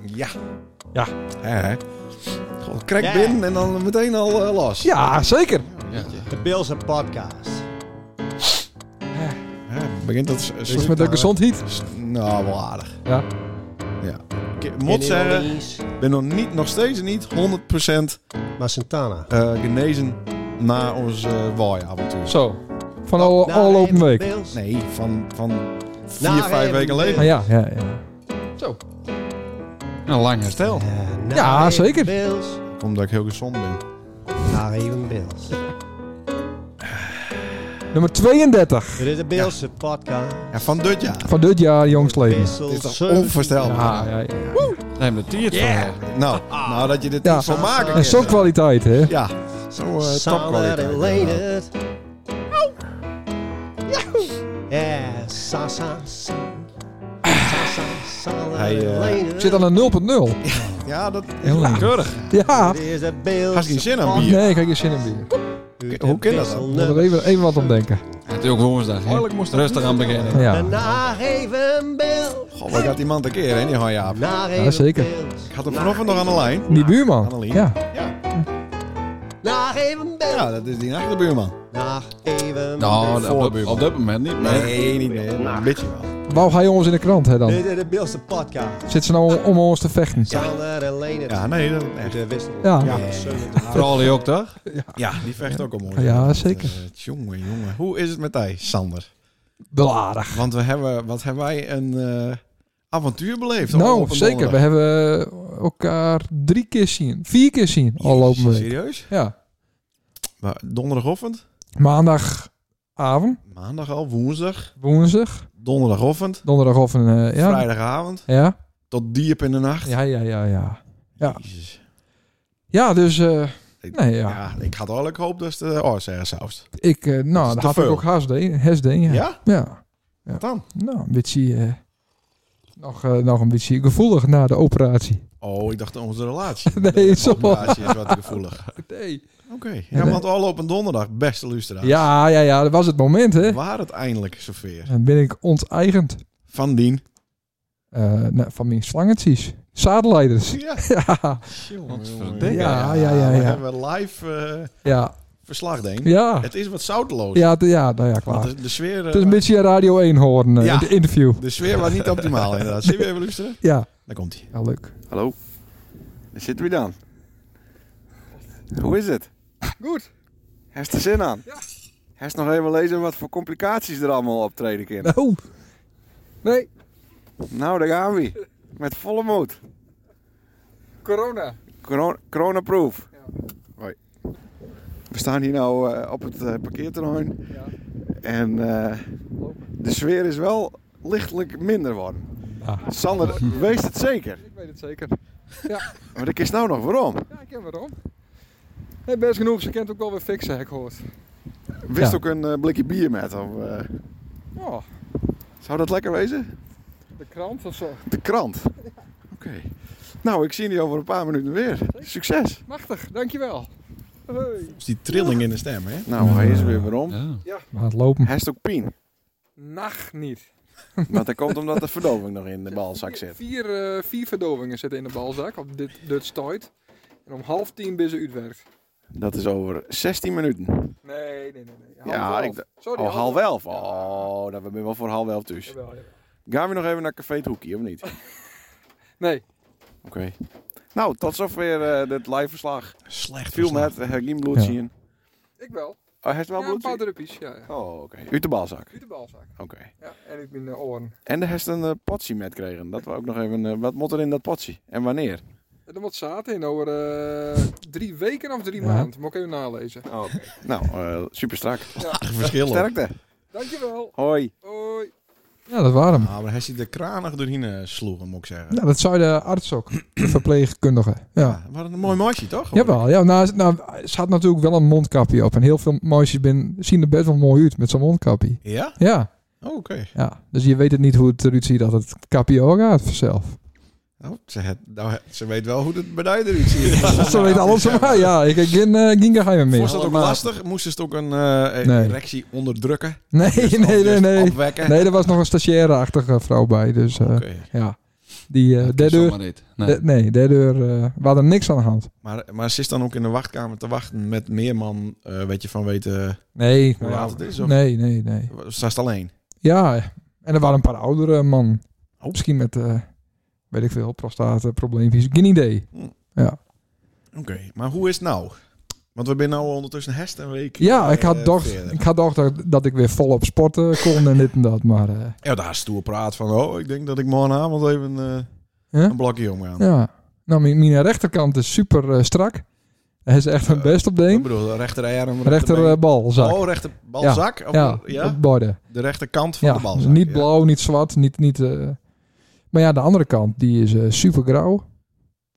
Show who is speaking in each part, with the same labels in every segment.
Speaker 1: Ja,
Speaker 2: Ja,
Speaker 1: hè, hè. Gewoon crack
Speaker 3: Ja.
Speaker 1: binnen en dan meteen al eh, los.
Speaker 2: ja zeker.
Speaker 3: De Bills en podcast.
Speaker 1: Hè, begint dat... s-
Speaker 2: Dus met de gezondheid.
Speaker 1: eh, s- Nou, wel aardig.
Speaker 2: Ja.
Speaker 1: Ja. Ik moet zeggen, ik ben nog, niet, nog steeds niet 100%
Speaker 3: Maar Santana.
Speaker 1: eh, genezen na ons uh, waaiavontuur.
Speaker 2: Zo. Van al, al open week.
Speaker 3: Bills.
Speaker 1: Nee, van, van vier,
Speaker 3: Nou,
Speaker 1: vijf
Speaker 3: eh,
Speaker 1: weken geleden.
Speaker 2: Ah, ja, ja, ja. Zo.
Speaker 4: Een lang herstel.
Speaker 3: Eh, naar
Speaker 2: Ja,
Speaker 3: even
Speaker 2: zeker.
Speaker 3: Bills.
Speaker 1: Omdat ik heel gezond ben.
Speaker 3: Naar even Bills.
Speaker 2: Nummer 32
Speaker 3: Dit is de Bills en podcast.
Speaker 1: Ja, van dit jaar.
Speaker 2: van dit jaar, jongsleden.
Speaker 3: Wissel
Speaker 1: Dit is toch
Speaker 3: 17.
Speaker 1: onvoorstelbaar.
Speaker 2: Ja, ja, ja.
Speaker 4: Neem de tiert van.
Speaker 1: Nou, nou, dat je dit
Speaker 2: Ja.
Speaker 1: niet zal maken.
Speaker 2: En zo'n
Speaker 1: kinderen.
Speaker 2: kwaliteit, hè?
Speaker 1: Ja, zo eh
Speaker 3: Sander en
Speaker 1: topkwaliteit.
Speaker 3: Leendert. Ja, sa sa sa. Sa sa Sander
Speaker 1: Hij,
Speaker 3: en
Speaker 1: eh,
Speaker 3: Leendert.
Speaker 2: Zit aan een 0.0.
Speaker 1: Ja, dat...
Speaker 2: Heel lang.
Speaker 4: Keurig.
Speaker 2: Ja.
Speaker 3: Dit is de Bills.
Speaker 1: Had geen zin aan bier.
Speaker 2: Nee, kijk, je zin in bier. Ik
Speaker 3: Uit
Speaker 1: Hoe
Speaker 3: de
Speaker 1: kan dat
Speaker 3: Wissel
Speaker 1: dan?
Speaker 2: moet er
Speaker 3: Nummers.
Speaker 2: even, even wat om denken.
Speaker 4: Het is ook woensdag. hè?
Speaker 1: Eigenlijk moest dat
Speaker 4: Rustig aan beginnen.
Speaker 2: Ja.
Speaker 3: En Naar even Bills.
Speaker 1: Goh, wat gaat die man tekeer, hè, die Hojaap?
Speaker 3: Naar even
Speaker 2: zeker.
Speaker 3: Bills.
Speaker 1: Ik had hem vanochtend nog aan de lijn.
Speaker 2: Die buurman.
Speaker 1: Annelien.
Speaker 2: Ja.
Speaker 1: Ja.
Speaker 3: Naar even Bills.
Speaker 1: ja, dat is die achterbuurman.
Speaker 3: Naar even
Speaker 4: Nou,
Speaker 3: Bills.
Speaker 4: dat- op, op dit moment niet. maar-
Speaker 1: Nee, niet meer. Een beetje wel.
Speaker 2: Wou hij jongens in de krant, hè dan?
Speaker 3: Dit is de Bills de podcast.
Speaker 2: Zit ze nou om, om ons te vechten?
Speaker 3: Sander en Leendert.
Speaker 1: Ja, nee, dat echt.
Speaker 3: De Wissel.
Speaker 2: Ja.
Speaker 3: Ja, 17.
Speaker 4: Vooral die ook toch?
Speaker 1: Ja, die vecht ook al mooi.
Speaker 2: Ja, zeker.
Speaker 1: Eh, jongen, jongen. Hoe is het met hij, Sander?
Speaker 2: Wel aardig.
Speaker 1: Want we hebben, wat hebben wij een eh, avontuur beleefd. al op
Speaker 2: Nou,
Speaker 1: een
Speaker 2: zeker. We
Speaker 1: donderdag.
Speaker 2: hebben eh, elkaar drie keer zien. Vier keer zien al lopen
Speaker 1: Jezus,
Speaker 2: we.
Speaker 1: Serieus?
Speaker 2: Ja.
Speaker 1: Maar donderdagochtend,
Speaker 2: Maandagavond,
Speaker 1: maandag al, woensdag,
Speaker 2: woensdag,
Speaker 1: donderdagochtend,
Speaker 2: donderdag of een... eh, ja.
Speaker 1: vrijdagavond,
Speaker 2: Ja.
Speaker 1: tot diep in de nacht.
Speaker 2: ja, ja, ja, ja. Ja.
Speaker 1: Jezus.
Speaker 2: Ja, dus... eh,
Speaker 1: Ik-
Speaker 2: nee, ja.
Speaker 1: Ja. ik had eigenlijk hoop dat ze de oorzaak saus.
Speaker 2: Ik, eh,
Speaker 1: is
Speaker 2: nou, dat
Speaker 1: te
Speaker 2: had ik
Speaker 1: veel.
Speaker 2: ook hasdeen. Hasdeen, ja.
Speaker 1: Ja?
Speaker 2: Ja.
Speaker 1: Wat dan?
Speaker 2: Nou, een beetje... eh, nog, eh, nog een beetje gevoelig na de operatie.
Speaker 1: Oh, ik dacht onze relatie.
Speaker 2: Nee,
Speaker 1: De
Speaker 2: zo.
Speaker 1: operatie is wat gevoelig.
Speaker 2: Nee.
Speaker 1: Oké, ja,
Speaker 2: nee.
Speaker 1: want al op een donderdag, beste luisteraars.
Speaker 2: Ja, ja, ja. Dat was het moment, hè.
Speaker 1: Waar het eindelijk zover.
Speaker 2: Dan ben ik onteigend
Speaker 1: Van dien.
Speaker 2: eh, nou, van mijn slangetjes. Zadelleiders.
Speaker 1: Ja,
Speaker 2: Ja,
Speaker 1: jongen,
Speaker 4: verdikke.
Speaker 2: Ja, ja, ja,
Speaker 1: We
Speaker 2: ja.
Speaker 1: hebben live eh,
Speaker 2: ja,
Speaker 1: verslag, denk ik.
Speaker 2: ja.
Speaker 1: Het is wat zouteloos.
Speaker 2: Ja, d- ja, nou ja,
Speaker 1: Want
Speaker 2: klaar.
Speaker 1: de, de sfeer... eh,
Speaker 2: Het is een beetje een Radio 1 horen eh,
Speaker 1: Ja.
Speaker 2: in het interview.
Speaker 1: De sfeer was niet optimaal, inderdaad. Zie je even luisteren?
Speaker 2: Ja,
Speaker 1: Daar komt hij.
Speaker 2: ja leuk.
Speaker 5: Hallo, daar zitten we dan. Hoe is het?
Speaker 2: Goed.
Speaker 5: Heeft er zin aan? Ja. Heeft nog even lezen wat voor complicaties er allemaal optreden kunnen?
Speaker 2: Nou, nee,
Speaker 5: Nou, daar gaan we. Met volle moed.
Speaker 2: corona.
Speaker 5: Corona- Coronaproof. Hoi. We staan hier nou eh, op het eh, parkeerterrein.
Speaker 2: Ja.
Speaker 5: En eh, de sfeer is wel lichtelijk minder geworden.
Speaker 2: Ah.
Speaker 5: Sander, wees het zeker.
Speaker 2: Ik weet het zeker.
Speaker 5: Maar ik is nou nog waarom.
Speaker 2: Ja, ik ken waarom. Hey, best genoeg, ze kent ook wel weer fixen, heb ik gehoord.
Speaker 5: Wist
Speaker 2: Ja.
Speaker 5: ook een eh, blikje bier met. Of, eh,
Speaker 2: Oh,
Speaker 5: zou dat lekker wezen?
Speaker 2: de krant of zo.
Speaker 5: De krant. Oké. Nou, ik zie jullie over een paar minuten weer. Succes.
Speaker 2: Machtig, dankjewel. Hey.
Speaker 1: Dus die trilling in de stem, hè?
Speaker 5: Nou, hij is weer weer om.
Speaker 4: Ja.
Speaker 2: Maar het lopen.
Speaker 5: Hij is ook pien.
Speaker 2: Nacht niet.
Speaker 5: Want dat komt omdat de verdoving nog in de balzak zit.
Speaker 2: Vier, eh, vier verdovingen zitten in de balzak op dit, dit stoit. En om half tien ben ze uitwerkt.
Speaker 5: Dat is over 16 minuten.
Speaker 2: Nee, nee, nee. nee. Half
Speaker 5: Ja,
Speaker 2: elf.
Speaker 5: ik d-
Speaker 2: Sorry,
Speaker 5: Oh, half elf. Oh, dan ben je wel voor half elf dus.
Speaker 2: Jawel, jawel.
Speaker 5: Gaan we nog even naar Café het Hoekje, of niet? Oké.
Speaker 1: Oh.
Speaker 2: Nee,
Speaker 5: Nou, tot zover eh dit live verslag.
Speaker 1: Slecht
Speaker 5: Viel
Speaker 1: verslag.
Speaker 5: met, heb geen bloed
Speaker 2: Ja.
Speaker 5: zien.
Speaker 2: ik wel.
Speaker 5: Oh, heeft wel
Speaker 2: ja, een
Speaker 5: bloed
Speaker 2: paar
Speaker 5: zien?
Speaker 2: druppies, ja. ja.
Speaker 5: Oh, oké. Uit de balzak.
Speaker 2: Uit de balzak.
Speaker 5: Oké.
Speaker 2: Ja, en ik ben de oren.
Speaker 5: En er heeft een eh, potje met gekregen. Dat we ook nog even... eh, wat moet er in dat potje? En wanneer?
Speaker 2: En dan wat zaten in over eh, drie weken of drie maanden. Moet ik even nalezen.
Speaker 5: Oh, oké. nou, eh, super strak.
Speaker 1: Aardig verschil. hoor.
Speaker 5: Sterkte.
Speaker 2: Dankjewel.
Speaker 5: Hoi.
Speaker 2: Hoi. Ja, dat waren hem.
Speaker 1: Ah, maar hij ziet de kranig doorheen eh, sloegen, moet ik zeggen. Ah,
Speaker 2: Ja, dat zei de arts ook. De verpleegkundige. Ja.
Speaker 1: Wat een mooi meisje, toch?
Speaker 2: Jawel, ja, nou, nou, ze had natuurlijk wel een mondkapje op. En heel veel meisjes ben, zien er best wel mooi uit met zo'n mondkapje.
Speaker 1: Ja?
Speaker 2: Ja,
Speaker 1: Oh, oké.
Speaker 2: ja, dus je weet het niet hoe het eruit ziet dat het kapje ook gaat vanzelf.
Speaker 1: Nou, ze, het, nou, het- ze weet wel hoe het bedrijf eruit ziet.
Speaker 2: Ze weet alles van mij, ja. Ik heb geen, eh, geen geheimen
Speaker 1: Vond
Speaker 2: meer.
Speaker 1: ze het ook
Speaker 5: Allemaal.
Speaker 1: lastig? Moesten ze het ook een eh,
Speaker 2: Nee.
Speaker 1: erectie onderdrukken?
Speaker 2: Nee,
Speaker 1: Dus
Speaker 2: nee, nee,
Speaker 1: onrust
Speaker 2: nee.
Speaker 1: Opwekken?
Speaker 2: Nee, er was nog een stagiaire-achtige vrouw bij, dus eh,
Speaker 1: Oké.
Speaker 2: ja. Die eh,
Speaker 4: Dat
Speaker 2: derde
Speaker 4: is
Speaker 2: deur...
Speaker 4: zomaar niet.
Speaker 2: Nee,
Speaker 4: Nee.
Speaker 2: de, nee derde deur... eh, we hadden niks aan de hand.
Speaker 1: Maar, maar ze is dan ook in de wachtkamer te wachten met meer man, eh, weet je, van weten
Speaker 2: Nee.
Speaker 1: hoe
Speaker 2: nou ja,
Speaker 1: laat het is? Of
Speaker 2: nee, nee, nee.
Speaker 1: ze is alleen?
Speaker 2: Ja, en er waren een paar oudere man.
Speaker 1: Oh.
Speaker 2: Misschien met, eh, weet ik veel, prostaatprobleempjes. Geen idee.
Speaker 1: Oké, maar hoe is het nou? Want we zijn nou ondertussen herst een week.
Speaker 2: Ja,
Speaker 1: eh,
Speaker 2: ik had toch
Speaker 1: verder.
Speaker 2: ik had toch dat, dat ik weer volop sporten kon en dit en dat. Maar eh,
Speaker 1: Ja, daar is stoer praat van, oh, ik denk dat ik morgenavond even eh,
Speaker 2: Ja?
Speaker 1: een blokje omgaan.
Speaker 2: ja, nou, mijn, mijn rechterkant is super eh, strak. Hij is echt mijn
Speaker 1: Eh,
Speaker 2: best op de
Speaker 1: Ik
Speaker 2: een.
Speaker 1: bedoel, de rechterarm,
Speaker 2: Rechter eh,
Speaker 1: rechterbeen.
Speaker 2: balzak.
Speaker 1: Oh, rechterbalzak? Of-
Speaker 2: ja,
Speaker 1: Ja,
Speaker 2: op borden.
Speaker 1: de rechterkant van
Speaker 2: ja,
Speaker 1: de
Speaker 2: dus
Speaker 1: balzak.
Speaker 2: niet
Speaker 1: ja.
Speaker 2: blauw, niet zwart, niet... niet eh, Maar ja, de andere kant, die is super grauw.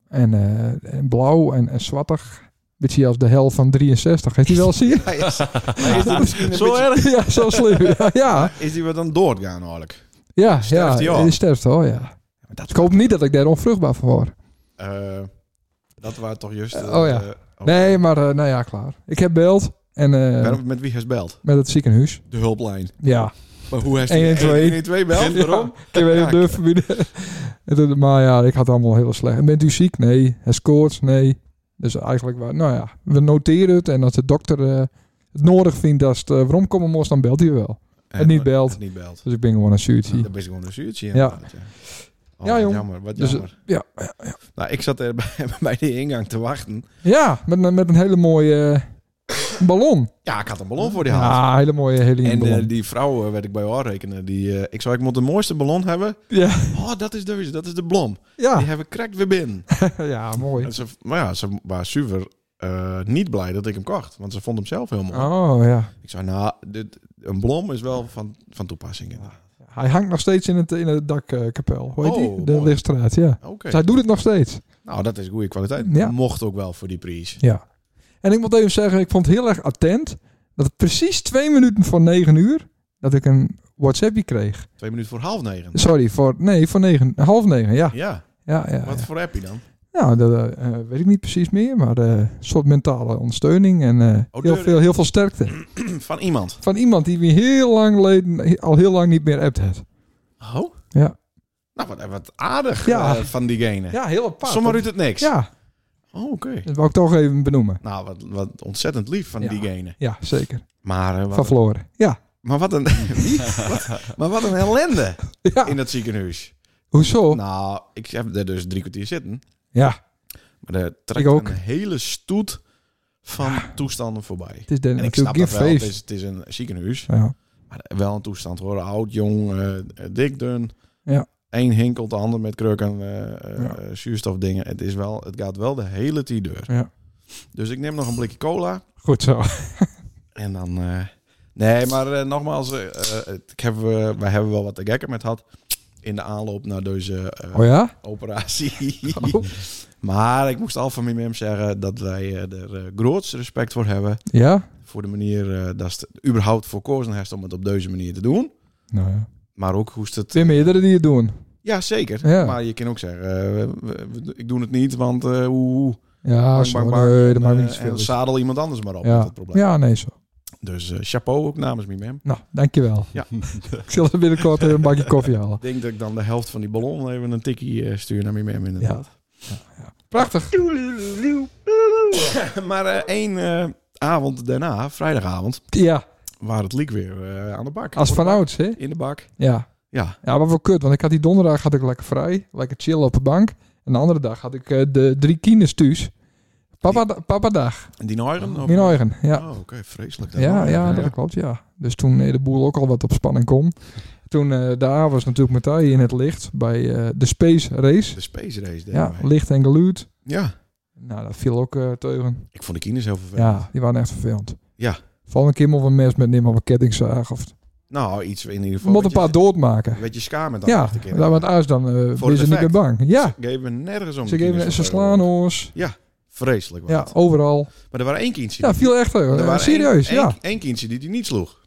Speaker 2: En, eh, en blauw en, en zwartig. Beetje als de hel van 63. Heeft hij wel zien?
Speaker 1: Hij is, hij is daar misschien een
Speaker 4: Zo
Speaker 1: beetje-
Speaker 4: erg?
Speaker 2: ja, zo slim. Ja, ja.
Speaker 1: Is die wat dan doorgaan eigenlijk?
Speaker 2: ja,
Speaker 1: Sterft hij
Speaker 2: ja,
Speaker 1: al?
Speaker 2: die sterft al, ja. Ik hoop niet dat ik daar onvruchtbaar voor word.
Speaker 1: Eh, dat waren toch juist...
Speaker 2: Eh,
Speaker 1: eh,
Speaker 2: oh ja.
Speaker 1: eh, oh.
Speaker 2: Nee, maar eh, nou ja, klaar. Ik heb beeld en eh,
Speaker 1: Waarom- Met wie hij belt?
Speaker 2: met het ziekenhuis.
Speaker 1: De hulplijn.
Speaker 2: Ja.
Speaker 1: Maar hoe heeft hij
Speaker 2: 1 en 2?
Speaker 1: 1 en 2 belt?
Speaker 2: Ja, Ik heb even de deur verbieden. En toen- maar ja, ik had het allemaal heel slecht. En bent u ziek? Nee. Hij scoort? Nee. Dus eigenlijk, wa- nou ja, we noteren het. En als de dokter eh, het nodig vindt dat het eh, waarom komen moest, dan belt hij wel. En niet belt.
Speaker 1: En niet belt.
Speaker 2: Dus ik ben gewoon een zuurtje.
Speaker 1: Dat is gewoon een zuurtje.
Speaker 2: Ja.
Speaker 1: inderdaad, Oh,
Speaker 2: Ja,
Speaker 1: wat
Speaker 2: jong.
Speaker 1: Jammer, wat
Speaker 2: Dus,
Speaker 1: jammer.
Speaker 2: ja,
Speaker 1: Nou, ik zat er bij, bij de ingang te wachten.
Speaker 2: Ja, met, een- met een hele mooie eh, ballon.
Speaker 1: Ja, ik had een ballon voor die hand.
Speaker 2: Ja, hele mooie heliumballon.
Speaker 1: En eh, die vrouw eh, werd ik bij haar rekenen. Die, eh, ik zei, ik moet de mooiste ballon hebben.
Speaker 2: Ja,
Speaker 1: Oh, dat is deze, dat is de blom. Die
Speaker 2: ja,
Speaker 1: hebben krekt weer binnen.
Speaker 2: Ah. ja, mooi.
Speaker 1: En ze, maar ja, ze was super eh, niet blij dat ik hem kocht. Want ze vond hem zelf heel mooi.
Speaker 2: Oh ja.
Speaker 1: Ik zei, nou, dit, een blom is wel van, van toepassing.
Speaker 2: Ah.
Speaker 1: inderdaad.
Speaker 2: Hij hangt nog steeds in het, in het dakkapel. Hoe heet
Speaker 1: Oh,
Speaker 2: die? De
Speaker 1: mooi.
Speaker 2: lichtstraat, ja.
Speaker 1: Oké.
Speaker 2: Dus hij doet het nog steeds.
Speaker 1: Nou, dat is goede kwaliteit.
Speaker 2: Ja.
Speaker 1: Mocht ook wel voor die prijs.
Speaker 2: Ja. En ik moet even zeggen, ik vond het heel erg attent dat het precies twee minuten voor negen uur dat ik een WhatsAppje kreeg.
Speaker 1: Twee minuten voor half negen.
Speaker 2: Sorry, voor nee, voor negen, half negen, ja.
Speaker 1: Ja,
Speaker 2: Ja, ja.
Speaker 1: wat
Speaker 2: ja.
Speaker 1: voor heb je dan?
Speaker 2: Nou, dat eh, eh, weet ik niet precies meer, maar eh, een soort mentale ondersteuning en eh,
Speaker 1: Oh,
Speaker 2: heel
Speaker 1: de-
Speaker 2: veel, heel veel sterkte
Speaker 1: Van iemand.
Speaker 2: van iemand die we heel lang geleden al heel lang niet meer appt had.
Speaker 1: Oh?
Speaker 2: Ja.
Speaker 1: Nou, wat, wat aardig
Speaker 2: Ja.
Speaker 1: eh, van diegene.
Speaker 2: Ja, heel apart.
Speaker 1: Sommer uit het niks.
Speaker 2: Ja,
Speaker 1: Oh, oké.
Speaker 2: dat wou ik toch even benoemen.
Speaker 1: Nou, wat, wat ontzettend lief van
Speaker 2: Ja.
Speaker 1: diegene.
Speaker 2: Ja, zeker.
Speaker 1: Maar, eh,
Speaker 2: Van
Speaker 1: wat,
Speaker 2: Floren. Ja.
Speaker 1: maar wat een... Wie? Wat? maar wat een ellende
Speaker 2: ja.
Speaker 1: in dat ziekenhuis.
Speaker 2: Hoezo?
Speaker 1: Nou, ik heb er dus drie kwartier zitten.
Speaker 2: Oh. Ja,
Speaker 1: Maar er
Speaker 2: Ik
Speaker 1: trekt
Speaker 2: ook.
Speaker 1: een hele stoet van toestanden voorbij.
Speaker 2: het is dan
Speaker 1: En ik
Speaker 2: natuurlijk
Speaker 1: snap dat wel.
Speaker 2: geen
Speaker 1: dus- Het is,
Speaker 2: feest.
Speaker 1: het is een ziekenhuis.
Speaker 2: Ja.
Speaker 1: Maar wel een toestand hoor. Oud, jong, eh, eh, dik, dun.
Speaker 2: Ja.
Speaker 1: Eén hinkelt de ander met krukken, eh, eh,
Speaker 2: Ja.
Speaker 1: eh, zuurstofdingen. Het, is wel, het gaat wel de hele tijd deur.
Speaker 2: Ja.
Speaker 1: Dus ik neem nog een blikje cola.
Speaker 2: Goed zo.
Speaker 1: En dan... eh, nee, maar eh, nogmaals, eh, eh, het- ik heb, eh, wij hebben wel wat te gekken met gehad in de aanloop naar deze eh,
Speaker 2: Oh ja?
Speaker 1: operatie.
Speaker 2: Oh.
Speaker 1: Maar ik moest al van mijn mem zeggen dat wij eh, er eh, grootste respect voor hebben.
Speaker 2: Ja?
Speaker 1: Voor de manier eh, dat ze het überhaupt voor kozen heeft om het op deze manier te doen.
Speaker 2: Nou ja.
Speaker 1: Maar ook hoe ze het
Speaker 2: Twee meerdere die het doen.
Speaker 1: Ja, zeker.
Speaker 2: Ja.
Speaker 1: Maar je kan ook zeggen, eh, we- we- we- ik doe het niet, want eh hoe... hoe-
Speaker 2: Ja,
Speaker 1: bang,
Speaker 2: zo,
Speaker 1: bang, bang.
Speaker 2: nee, dat
Speaker 1: En,
Speaker 2: maakt
Speaker 1: eh,
Speaker 2: niet zoveel
Speaker 1: en
Speaker 2: uit.
Speaker 1: zadel iemand anders maar op met
Speaker 2: Ja.
Speaker 1: dat probleem.
Speaker 2: ja, nee, zo.
Speaker 1: Dus eh, chapeau ook namens mijn mem.
Speaker 2: Nou, dankjewel.
Speaker 1: Ja.
Speaker 2: ik zal er binnenkort een bakje koffie halen.
Speaker 1: Ik denk dat ik dan de helft van die ballon even een tikkie eh, stuur naar mijn mem inderdaad.
Speaker 2: Prachtig.
Speaker 1: maar eh, één eh, avond daarna, vrijdagavond,
Speaker 2: Ja,
Speaker 1: waar het liek weer eh, aan de bak.
Speaker 2: als vanouds, hè?
Speaker 1: In de bak.
Speaker 2: Ja.
Speaker 1: Ja.
Speaker 2: Ja, maar wel kut, want ik had die donderdag had ik lekker vrij. Lekker chillen op de bank. En de andere dag had ik eh, de drie kines thuis. Papa, papa dag.
Speaker 1: En die Neuren? of-
Speaker 2: Mijn eigen, ja.
Speaker 1: Oh, oké. Vreselijk. dan.
Speaker 2: Ja, ja, dat klopt, ja. Dus toen eh, de boel ook al wat op spanning kwam. Toen eh, daar was natuurlijk Matthij in het licht bij eh, de Space Race.
Speaker 1: De space race. deden
Speaker 2: Ja,
Speaker 1: wij.
Speaker 2: licht en geluid.
Speaker 1: ja.
Speaker 2: Nou, dat viel ook eh, teugen.
Speaker 1: Ik vond de kines heel vervelend.
Speaker 2: Ja, die waren echt vervelend.
Speaker 1: Ja.
Speaker 2: Volgende keer moeten we een mes met nemen op een kettingzaag. Of...
Speaker 1: Nou, iets in ieder
Speaker 2: We
Speaker 1: geval.
Speaker 2: moeten een
Speaker 1: wat
Speaker 2: paar doodmaken.
Speaker 1: je- Weet je schaam met
Speaker 2: Ja, daar wordt aas dan eh
Speaker 1: Voor
Speaker 2: ben
Speaker 1: het
Speaker 2: ze niet meer
Speaker 1: effect.
Speaker 2: bang. Ja,
Speaker 1: Ze geven nergens om.
Speaker 2: ze,
Speaker 1: die
Speaker 2: geven,
Speaker 1: kinderen
Speaker 2: ze
Speaker 1: van
Speaker 2: slaan
Speaker 1: Feyenoord.
Speaker 2: ons.
Speaker 1: Vreselijk was
Speaker 2: Ja,
Speaker 1: het.
Speaker 2: overal.
Speaker 1: Maar er waren één kindje.
Speaker 2: Ja, viel echt
Speaker 1: er
Speaker 2: teugen. Eh,
Speaker 1: waren
Speaker 2: serieus,
Speaker 1: één,
Speaker 2: ja.
Speaker 1: Één, één kindje die die niet sloeg.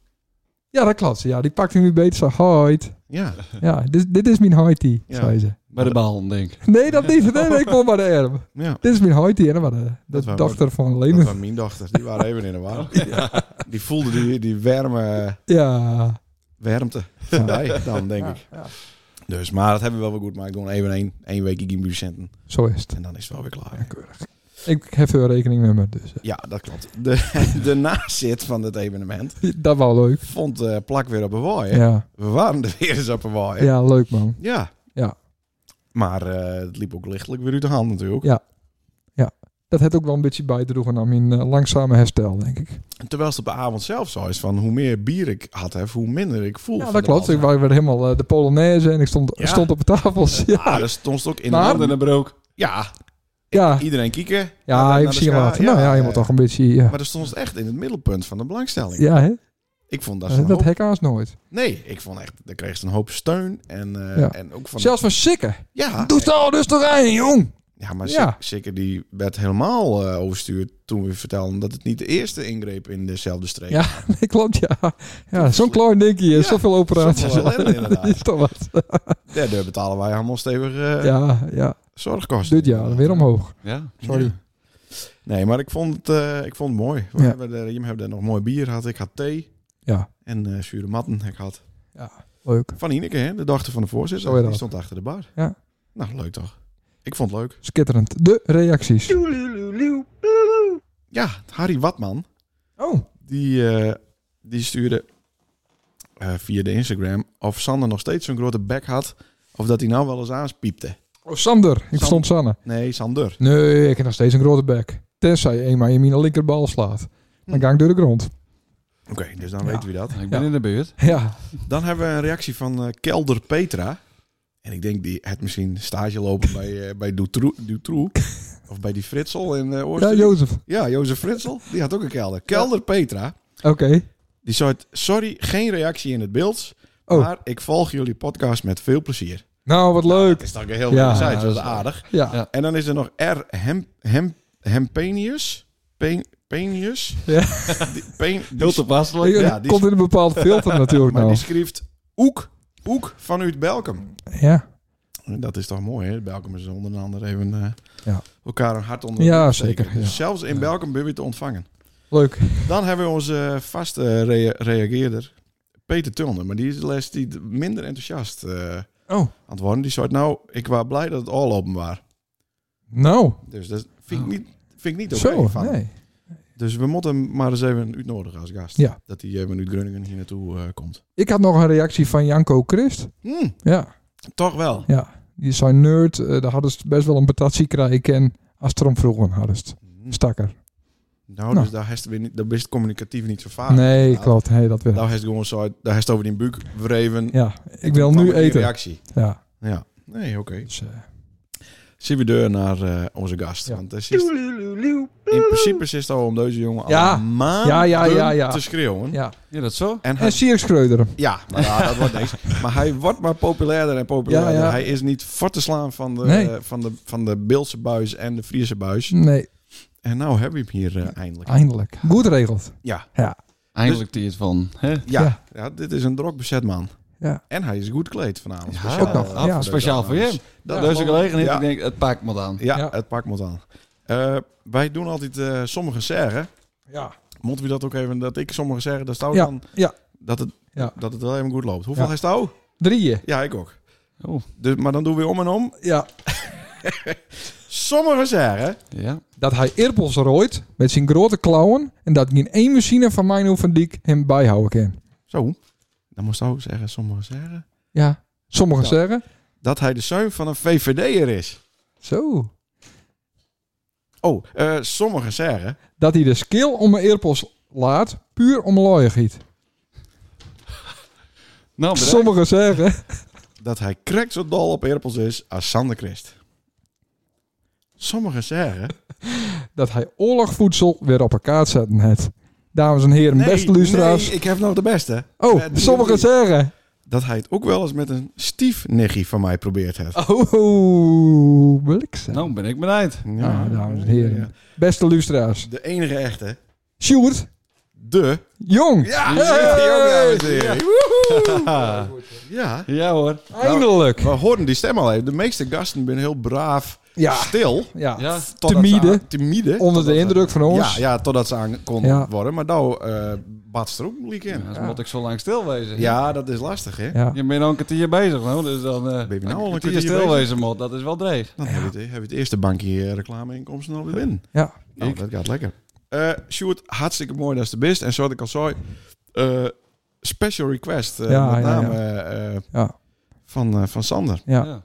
Speaker 2: Ja, dat klopt. Ja, die pakte nu beter. Zo, hoi.
Speaker 1: Ja.
Speaker 2: Ja, dit, dit is mijn hoitie,
Speaker 1: Ja.
Speaker 2: zei ze.
Speaker 4: Bij de bal, denk ik.
Speaker 2: Nee, dat niet. Nee, nee, ik wil maar de erm.
Speaker 1: ja.
Speaker 2: Dit is mijn hoitie. En dan was de, de
Speaker 1: Dat was-
Speaker 2: dochter van
Speaker 1: Dat
Speaker 2: Lemen.
Speaker 1: waren mijn dochters. Die waren even in de war. Die voelden die, die warme
Speaker 2: Ja.
Speaker 1: warmte van mij dan, denk ik.
Speaker 2: Ja, ja.
Speaker 1: Dus, maar dat hebben we wel weer goed. Maar ik doe even één, één week in Bucenten.
Speaker 2: Zo is het.
Speaker 1: En dan is het wel weer klaar.
Speaker 2: Ja, keurig. Ik heb er rekening mee, maar dus.
Speaker 1: Ja, dat klopt. De, de nazit van het evenement
Speaker 2: eh, Dat was leuk.
Speaker 1: vond eh, plak weer op een waai. hè?
Speaker 2: Ja.
Speaker 1: We waren er weer eens op een waai. hè?
Speaker 2: ja, leuk man.
Speaker 1: Ja.
Speaker 2: Ja.
Speaker 1: Maar eh, het liep ook lichtelijk weer uit de hand natuurlijk.
Speaker 2: Ja. Dat had ook wel een beetje bijdroegen aan mijn eh, langzame herstel, denk ik.
Speaker 1: En Terwijl het op de avond zelf zo is van hoe meer bier ik had, heb, hoe minder ik voel.
Speaker 2: Ja,
Speaker 1: van
Speaker 2: dat
Speaker 1: de
Speaker 2: klopt. Ik
Speaker 1: alcohol.
Speaker 2: was weer helemaal eh, de Polonaise en ik stond,
Speaker 1: Ja.
Speaker 2: stond op de tafels.
Speaker 1: Ja,
Speaker 2: Ja,
Speaker 1: dat stond ze ook in
Speaker 2: Maar-
Speaker 1: de
Speaker 4: Handen en een broek.
Speaker 1: Ja,
Speaker 2: ja.
Speaker 1: iedereen kieken. naar de-
Speaker 2: ja
Speaker 1: naar
Speaker 2: ik
Speaker 1: de
Speaker 2: zie hem
Speaker 1: schaar.
Speaker 2: later. nou ja, je
Speaker 1: eh,
Speaker 2: moet toch een beetje... Ja,
Speaker 1: Maar dat stond ze echt in het middelpunt van de belangstelling.
Speaker 2: ja hè?
Speaker 1: Ik vond dat ze
Speaker 2: dat,
Speaker 1: een
Speaker 2: dat
Speaker 1: hoop...
Speaker 2: hek haast nooit.
Speaker 1: Nee, ik vond echt... Daar kreeg ze een hoop steun. En, eh,
Speaker 2: Ja.
Speaker 1: en ook van...
Speaker 2: Zelfs van Sikke.
Speaker 1: ja,
Speaker 2: Doe het al dus toch aan, jong.
Speaker 1: ja, maar
Speaker 2: Ja.
Speaker 1: Sik- Sikke die werd helemaal eh, overstuurd toen we vertelden dat het niet de eerste ingreep in dezelfde streek
Speaker 2: Ja. Nee, klopt, ja. ja Zo'n klein dingetje.
Speaker 1: Ja,
Speaker 2: Zoveel operaties.
Speaker 1: zoveel ellende,
Speaker 2: dat is
Speaker 1: inderdaad.
Speaker 2: toch wat.
Speaker 1: Ja, daar betalen wij allemaal stevig eh,
Speaker 2: Ja, ja.
Speaker 1: zorgkosten.
Speaker 2: Dit jaar weer omhoog.
Speaker 4: Ja.
Speaker 2: Sorry.
Speaker 1: Ja. Nee, maar ik vond het, eh, ik vond het mooi. We
Speaker 2: Ja.
Speaker 1: hebben er, Jim hebben er nog mooi bier gehad. Ik had thee.
Speaker 2: Ja.
Speaker 1: En eh zure matten heb ik had.
Speaker 2: Leuk.
Speaker 1: Van Ineke, hè, de dochter van de voorzitter.
Speaker 2: Zo is
Speaker 1: die
Speaker 2: dat.
Speaker 1: stond achter de bar.
Speaker 2: Ja.
Speaker 1: Nou, leuk toch? Ik vond het leuk.
Speaker 2: Schitterend. De reacties.
Speaker 1: Ja, Harry Watman,
Speaker 2: Oh.
Speaker 1: die, eh, die stuurde eh, via de Instagram of Sander nog steeds zo'n grote bek had. Of dat hij nou wel eens aanspiepte.
Speaker 2: oh Sander. Ik verstond Sanne.
Speaker 1: Nee, Sander.
Speaker 2: Nee, ik heb nog steeds een grote bek. Tenzij je eenmaal in mijn linkerbal slaat.
Speaker 1: Hm.
Speaker 2: Dan ga ik door de grond.
Speaker 1: Oké, dus dan
Speaker 2: Ja.
Speaker 1: weten we dat.
Speaker 4: Ik ben in de buurt.
Speaker 2: Ja.
Speaker 1: Dan hebben we een reactie van eh, Kelder Petra. En ik denk die het misschien stage lopen bij, eh, bij Dutroux. Dutroux. Of bij die Fritsel in eh
Speaker 2: Ja,
Speaker 1: Oostenrijk. Ja,
Speaker 2: Jozef.
Speaker 1: Jozef Fritsel. Die had ook een kelder. Kelder Petra.
Speaker 2: Oké.
Speaker 1: Die zei, het, sorry, geen reactie in het beeld.
Speaker 2: Oh.
Speaker 1: Maar ik volg jullie podcast met veel plezier.
Speaker 2: Nou, wat
Speaker 1: Dat
Speaker 2: leuk.
Speaker 1: is dan heel
Speaker 2: Ja,
Speaker 1: ja, dat
Speaker 4: dat
Speaker 1: is
Speaker 4: is wel-
Speaker 1: aardig.
Speaker 2: Ja.
Speaker 1: En dan is er nog R. Hem, hem, Hempenius. Pen, Penius.
Speaker 2: Ja.
Speaker 1: Die, pen, die-
Speaker 4: Heel toepasselijk.
Speaker 2: Ik-
Speaker 1: Ja,
Speaker 2: dat
Speaker 1: die-
Speaker 2: komt in een bepaald filter natuurlijk
Speaker 1: maar die
Speaker 2: nou.
Speaker 1: schrijft Oek. Oek vanuit Belkum.
Speaker 2: Ja.
Speaker 1: En Dat is toch mooi, hè? Belkum is onder andere even eh,
Speaker 2: Ja.
Speaker 1: elkaar een hart onder de
Speaker 2: Ja,
Speaker 1: riem
Speaker 2: zeker,
Speaker 1: steken. Dus
Speaker 2: ja.
Speaker 1: zelfs in Belkum ben je te ontvangen.
Speaker 2: Leuk.
Speaker 1: Dan hebben we onze eh, vaste rea- reageerder, Peter Tulner. Maar die is les die d- minder enthousiast eh,
Speaker 2: Oh.
Speaker 1: aan het worden. Die zei, nou, ik was blij dat het al open was.
Speaker 2: Nou.
Speaker 1: Dus dat vind ik
Speaker 4: Oh.
Speaker 1: niet, vind ik niet oké
Speaker 2: Zo.
Speaker 1: van.
Speaker 2: Nee.
Speaker 1: Dus we moeten hem maar eens even uitnodigen als gast.
Speaker 2: Ja.
Speaker 1: Dat hij even uit Groningen hier naartoe eh, komt.
Speaker 2: Ik had nog een reactie van Janko Christ.
Speaker 1: Hm,
Speaker 2: Ja.
Speaker 1: toch wel.
Speaker 2: Ja, die zijn nerd. eh, daar hadden ze best wel een patatje krijgen. En als het erom vroegen hadden ze het.
Speaker 1: Hm.
Speaker 2: Stakker.
Speaker 1: Nou,
Speaker 2: Nou.
Speaker 1: dus daar, is weer niet, daar is het communicatief niet zo vaak.
Speaker 2: nee,
Speaker 1: Ah, inderdaad.
Speaker 2: klopt. Hey, dat weer.
Speaker 1: Daar heeft gewoon zo, daar heeft over die buik wreven.
Speaker 2: Ja,
Speaker 1: En
Speaker 2: ik wil
Speaker 1: toen
Speaker 2: nu
Speaker 1: kwam er die
Speaker 2: eten.
Speaker 1: Reactie.
Speaker 2: Ja,
Speaker 1: Ja. Nee, oké.
Speaker 2: dus, eh,
Speaker 1: Zie we deur naar eh, onze gast.
Speaker 2: Ja.
Speaker 1: Want het is, in principe is het al om deze jongen al
Speaker 2: Ja.
Speaker 1: maanden
Speaker 2: Ja, ja, ja, ja.
Speaker 1: te schreeuwen.
Speaker 2: ja. Dus-
Speaker 4: Ja, dat zo?
Speaker 1: En hij,
Speaker 2: En Sierk Schreuder.
Speaker 1: ja, maar ja, dat wordt niks. Maar hij wordt maar populairder en populairder.
Speaker 2: Ja, ja.
Speaker 1: Hij is niet voor te slaan van de,
Speaker 2: Nee.
Speaker 1: eh, van de, van de Beeldse buis en de Friese buis.
Speaker 2: Nee,
Speaker 1: En nou heb je hem hier eh, eindelijk.
Speaker 2: eindelijk. Goed regeld.
Speaker 1: Ja.
Speaker 4: Eindelijk die het van. Hè?
Speaker 1: Ja, ja.
Speaker 2: Ja.
Speaker 1: dit is een drok bezet man.
Speaker 2: Ja.
Speaker 1: En hij is goed kleed vanavond.
Speaker 4: Ja,
Speaker 1: Speciaal,
Speaker 2: ook nog.
Speaker 1: eh,
Speaker 2: Ja.
Speaker 1: deze
Speaker 4: Speciaal voor
Speaker 1: dames.
Speaker 4: je.
Speaker 1: Dat
Speaker 4: Deze
Speaker 1: geloof ik.
Speaker 4: gelegenheid,
Speaker 1: Ja.
Speaker 4: ik denk, het pak me aan.
Speaker 1: Ja,
Speaker 2: Ja.
Speaker 1: het pak moet aan. Eh, wij doen altijd eh sommige zeggen.
Speaker 2: Ja.
Speaker 1: Moeten we dat ook even, dat ik sommige zeggen, dat stout
Speaker 2: Ja,
Speaker 1: dan,
Speaker 2: ja.
Speaker 1: Dat, het,
Speaker 2: Ja.
Speaker 1: dat het wel even goed loopt. Hoeveel
Speaker 2: Ja.
Speaker 1: is stout?
Speaker 2: Drieën.
Speaker 1: Ja, ik ook.
Speaker 4: Oh,
Speaker 1: Dus, maar dan doen we om en om.
Speaker 2: Ja.
Speaker 1: Sommige zeggen,
Speaker 4: ja.
Speaker 2: Dat hij Irpels rooit met zijn grote klauwen. En dat geen één machine van mijn van Dijk hem bijhouden kan.
Speaker 1: zo, dan moest ook zeggen, sommigen zeggen,
Speaker 2: Ja. Sommigen
Speaker 1: Ja.
Speaker 2: zeggen.
Speaker 1: dat hij de zoon van een VVD'er is.
Speaker 2: Zo.
Speaker 1: Oh, eh sommigen zeggen,
Speaker 2: Dat hij de skill om een Irpels laat. Puur om looien giet.
Speaker 4: Nou, bedankt.
Speaker 2: Sommigen zeggen.
Speaker 1: dat hij krek zo dol op Erpels is als Sander Christ. Sommigen zeggen,
Speaker 2: dat hij oorlogvoedsel weer op elkaar zetten het. Dames en heren,
Speaker 1: nee,
Speaker 2: beste luisteraars.
Speaker 1: nee, ik heb nog de beste.
Speaker 2: oh,
Speaker 1: Eh, die-
Speaker 2: sommigen zeggen.
Speaker 1: dat hij het ook wel eens met een stiefniggie van mij probeert heeft.
Speaker 2: Oh, wil ik zeggen.
Speaker 4: Nou ben ik benijd.
Speaker 2: Nou, dames en heren. Beste luisteraars.
Speaker 1: De enige echte.
Speaker 2: Sjoerd,
Speaker 1: De.
Speaker 2: jong.
Speaker 1: Ja,
Speaker 2: Hey!
Speaker 1: ja.
Speaker 4: Ja,
Speaker 1: ja.
Speaker 4: hoor.
Speaker 2: Eindelijk.
Speaker 1: We hoorden die stem al even. De meeste gasten zijn heel braaf
Speaker 2: Ja,
Speaker 1: stil.
Speaker 2: ja.
Speaker 4: Ja.
Speaker 1: totdat
Speaker 2: Timide.
Speaker 1: ze aan- Timide.
Speaker 2: Onder
Speaker 1: Totdat
Speaker 2: de
Speaker 1: ze-
Speaker 2: indruk van
Speaker 1: Ja,
Speaker 2: ons.
Speaker 1: ja, totdat ze aan kon
Speaker 2: Ja.
Speaker 1: worden. Maar nou eh badst er ook moeilijk in.
Speaker 4: Dan
Speaker 2: Ja.
Speaker 4: moet ik zo lang stilwezen.
Speaker 1: Ja, dat is lastig, hè?
Speaker 2: Ja.
Speaker 4: Je bent al een kwartier bezig, nou, dus dan... eh,
Speaker 1: Ben je nou al een kwartier
Speaker 4: stilwezen, moet. Dat is wel dreig.
Speaker 1: Dan hebben we het, hebben we het eerste bankje eh, reclameinkomsten alweer binnen.
Speaker 2: Ja.
Speaker 1: Nou,
Speaker 4: Ik-
Speaker 1: dat gaat lekker. Eh Sjoerd, hartstikke mooi dat is de best. En zoals ik al zei, eh, special request. eh,
Speaker 2: Ja,
Speaker 1: met
Speaker 2: ja,
Speaker 1: name eh, eh,
Speaker 2: Ja.
Speaker 1: van, eh, van Sander.
Speaker 2: Ja.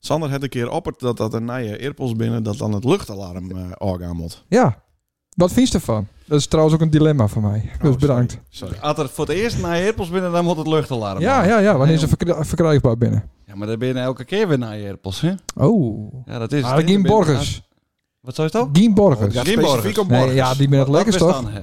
Speaker 1: Sander had een keer opperd dat dat een nieuwe earpods binnen, dat dan het luchtalarm eh orgaan moet.
Speaker 2: ja. Wat vind je ervan? Dat is trouwens ook een dilemma voor
Speaker 4: Oh,
Speaker 2: mij. dus
Speaker 4: Nou,
Speaker 1: sorry.
Speaker 2: bedankt.
Speaker 1: Sorry.
Speaker 4: Als er voor het eerst naar je herpels binnen, dan moet het luchtalarm.
Speaker 2: Ja,
Speaker 4: aan.
Speaker 2: ja, ja. Wanneer ze verkri- verkrijgbaar binnen?
Speaker 4: Ja, maar dan ben je elke keer weer naar je herpels, hè?
Speaker 2: Oh.
Speaker 4: Ja, dat is
Speaker 2: Maar
Speaker 4: het.
Speaker 2: Gien
Speaker 4: Dan ben je- Ah,
Speaker 2: Borgers.
Speaker 4: Wat zou je het dan?
Speaker 2: Gien
Speaker 1: Het
Speaker 2: Borgers.
Speaker 1: gaat
Speaker 4: Geen
Speaker 1: specifiek
Speaker 4: borgers.
Speaker 1: om
Speaker 2: Nee,
Speaker 1: borgers.
Speaker 2: ja, die met het lekkers
Speaker 4: Dat is
Speaker 2: toch?
Speaker 4: dan, hè?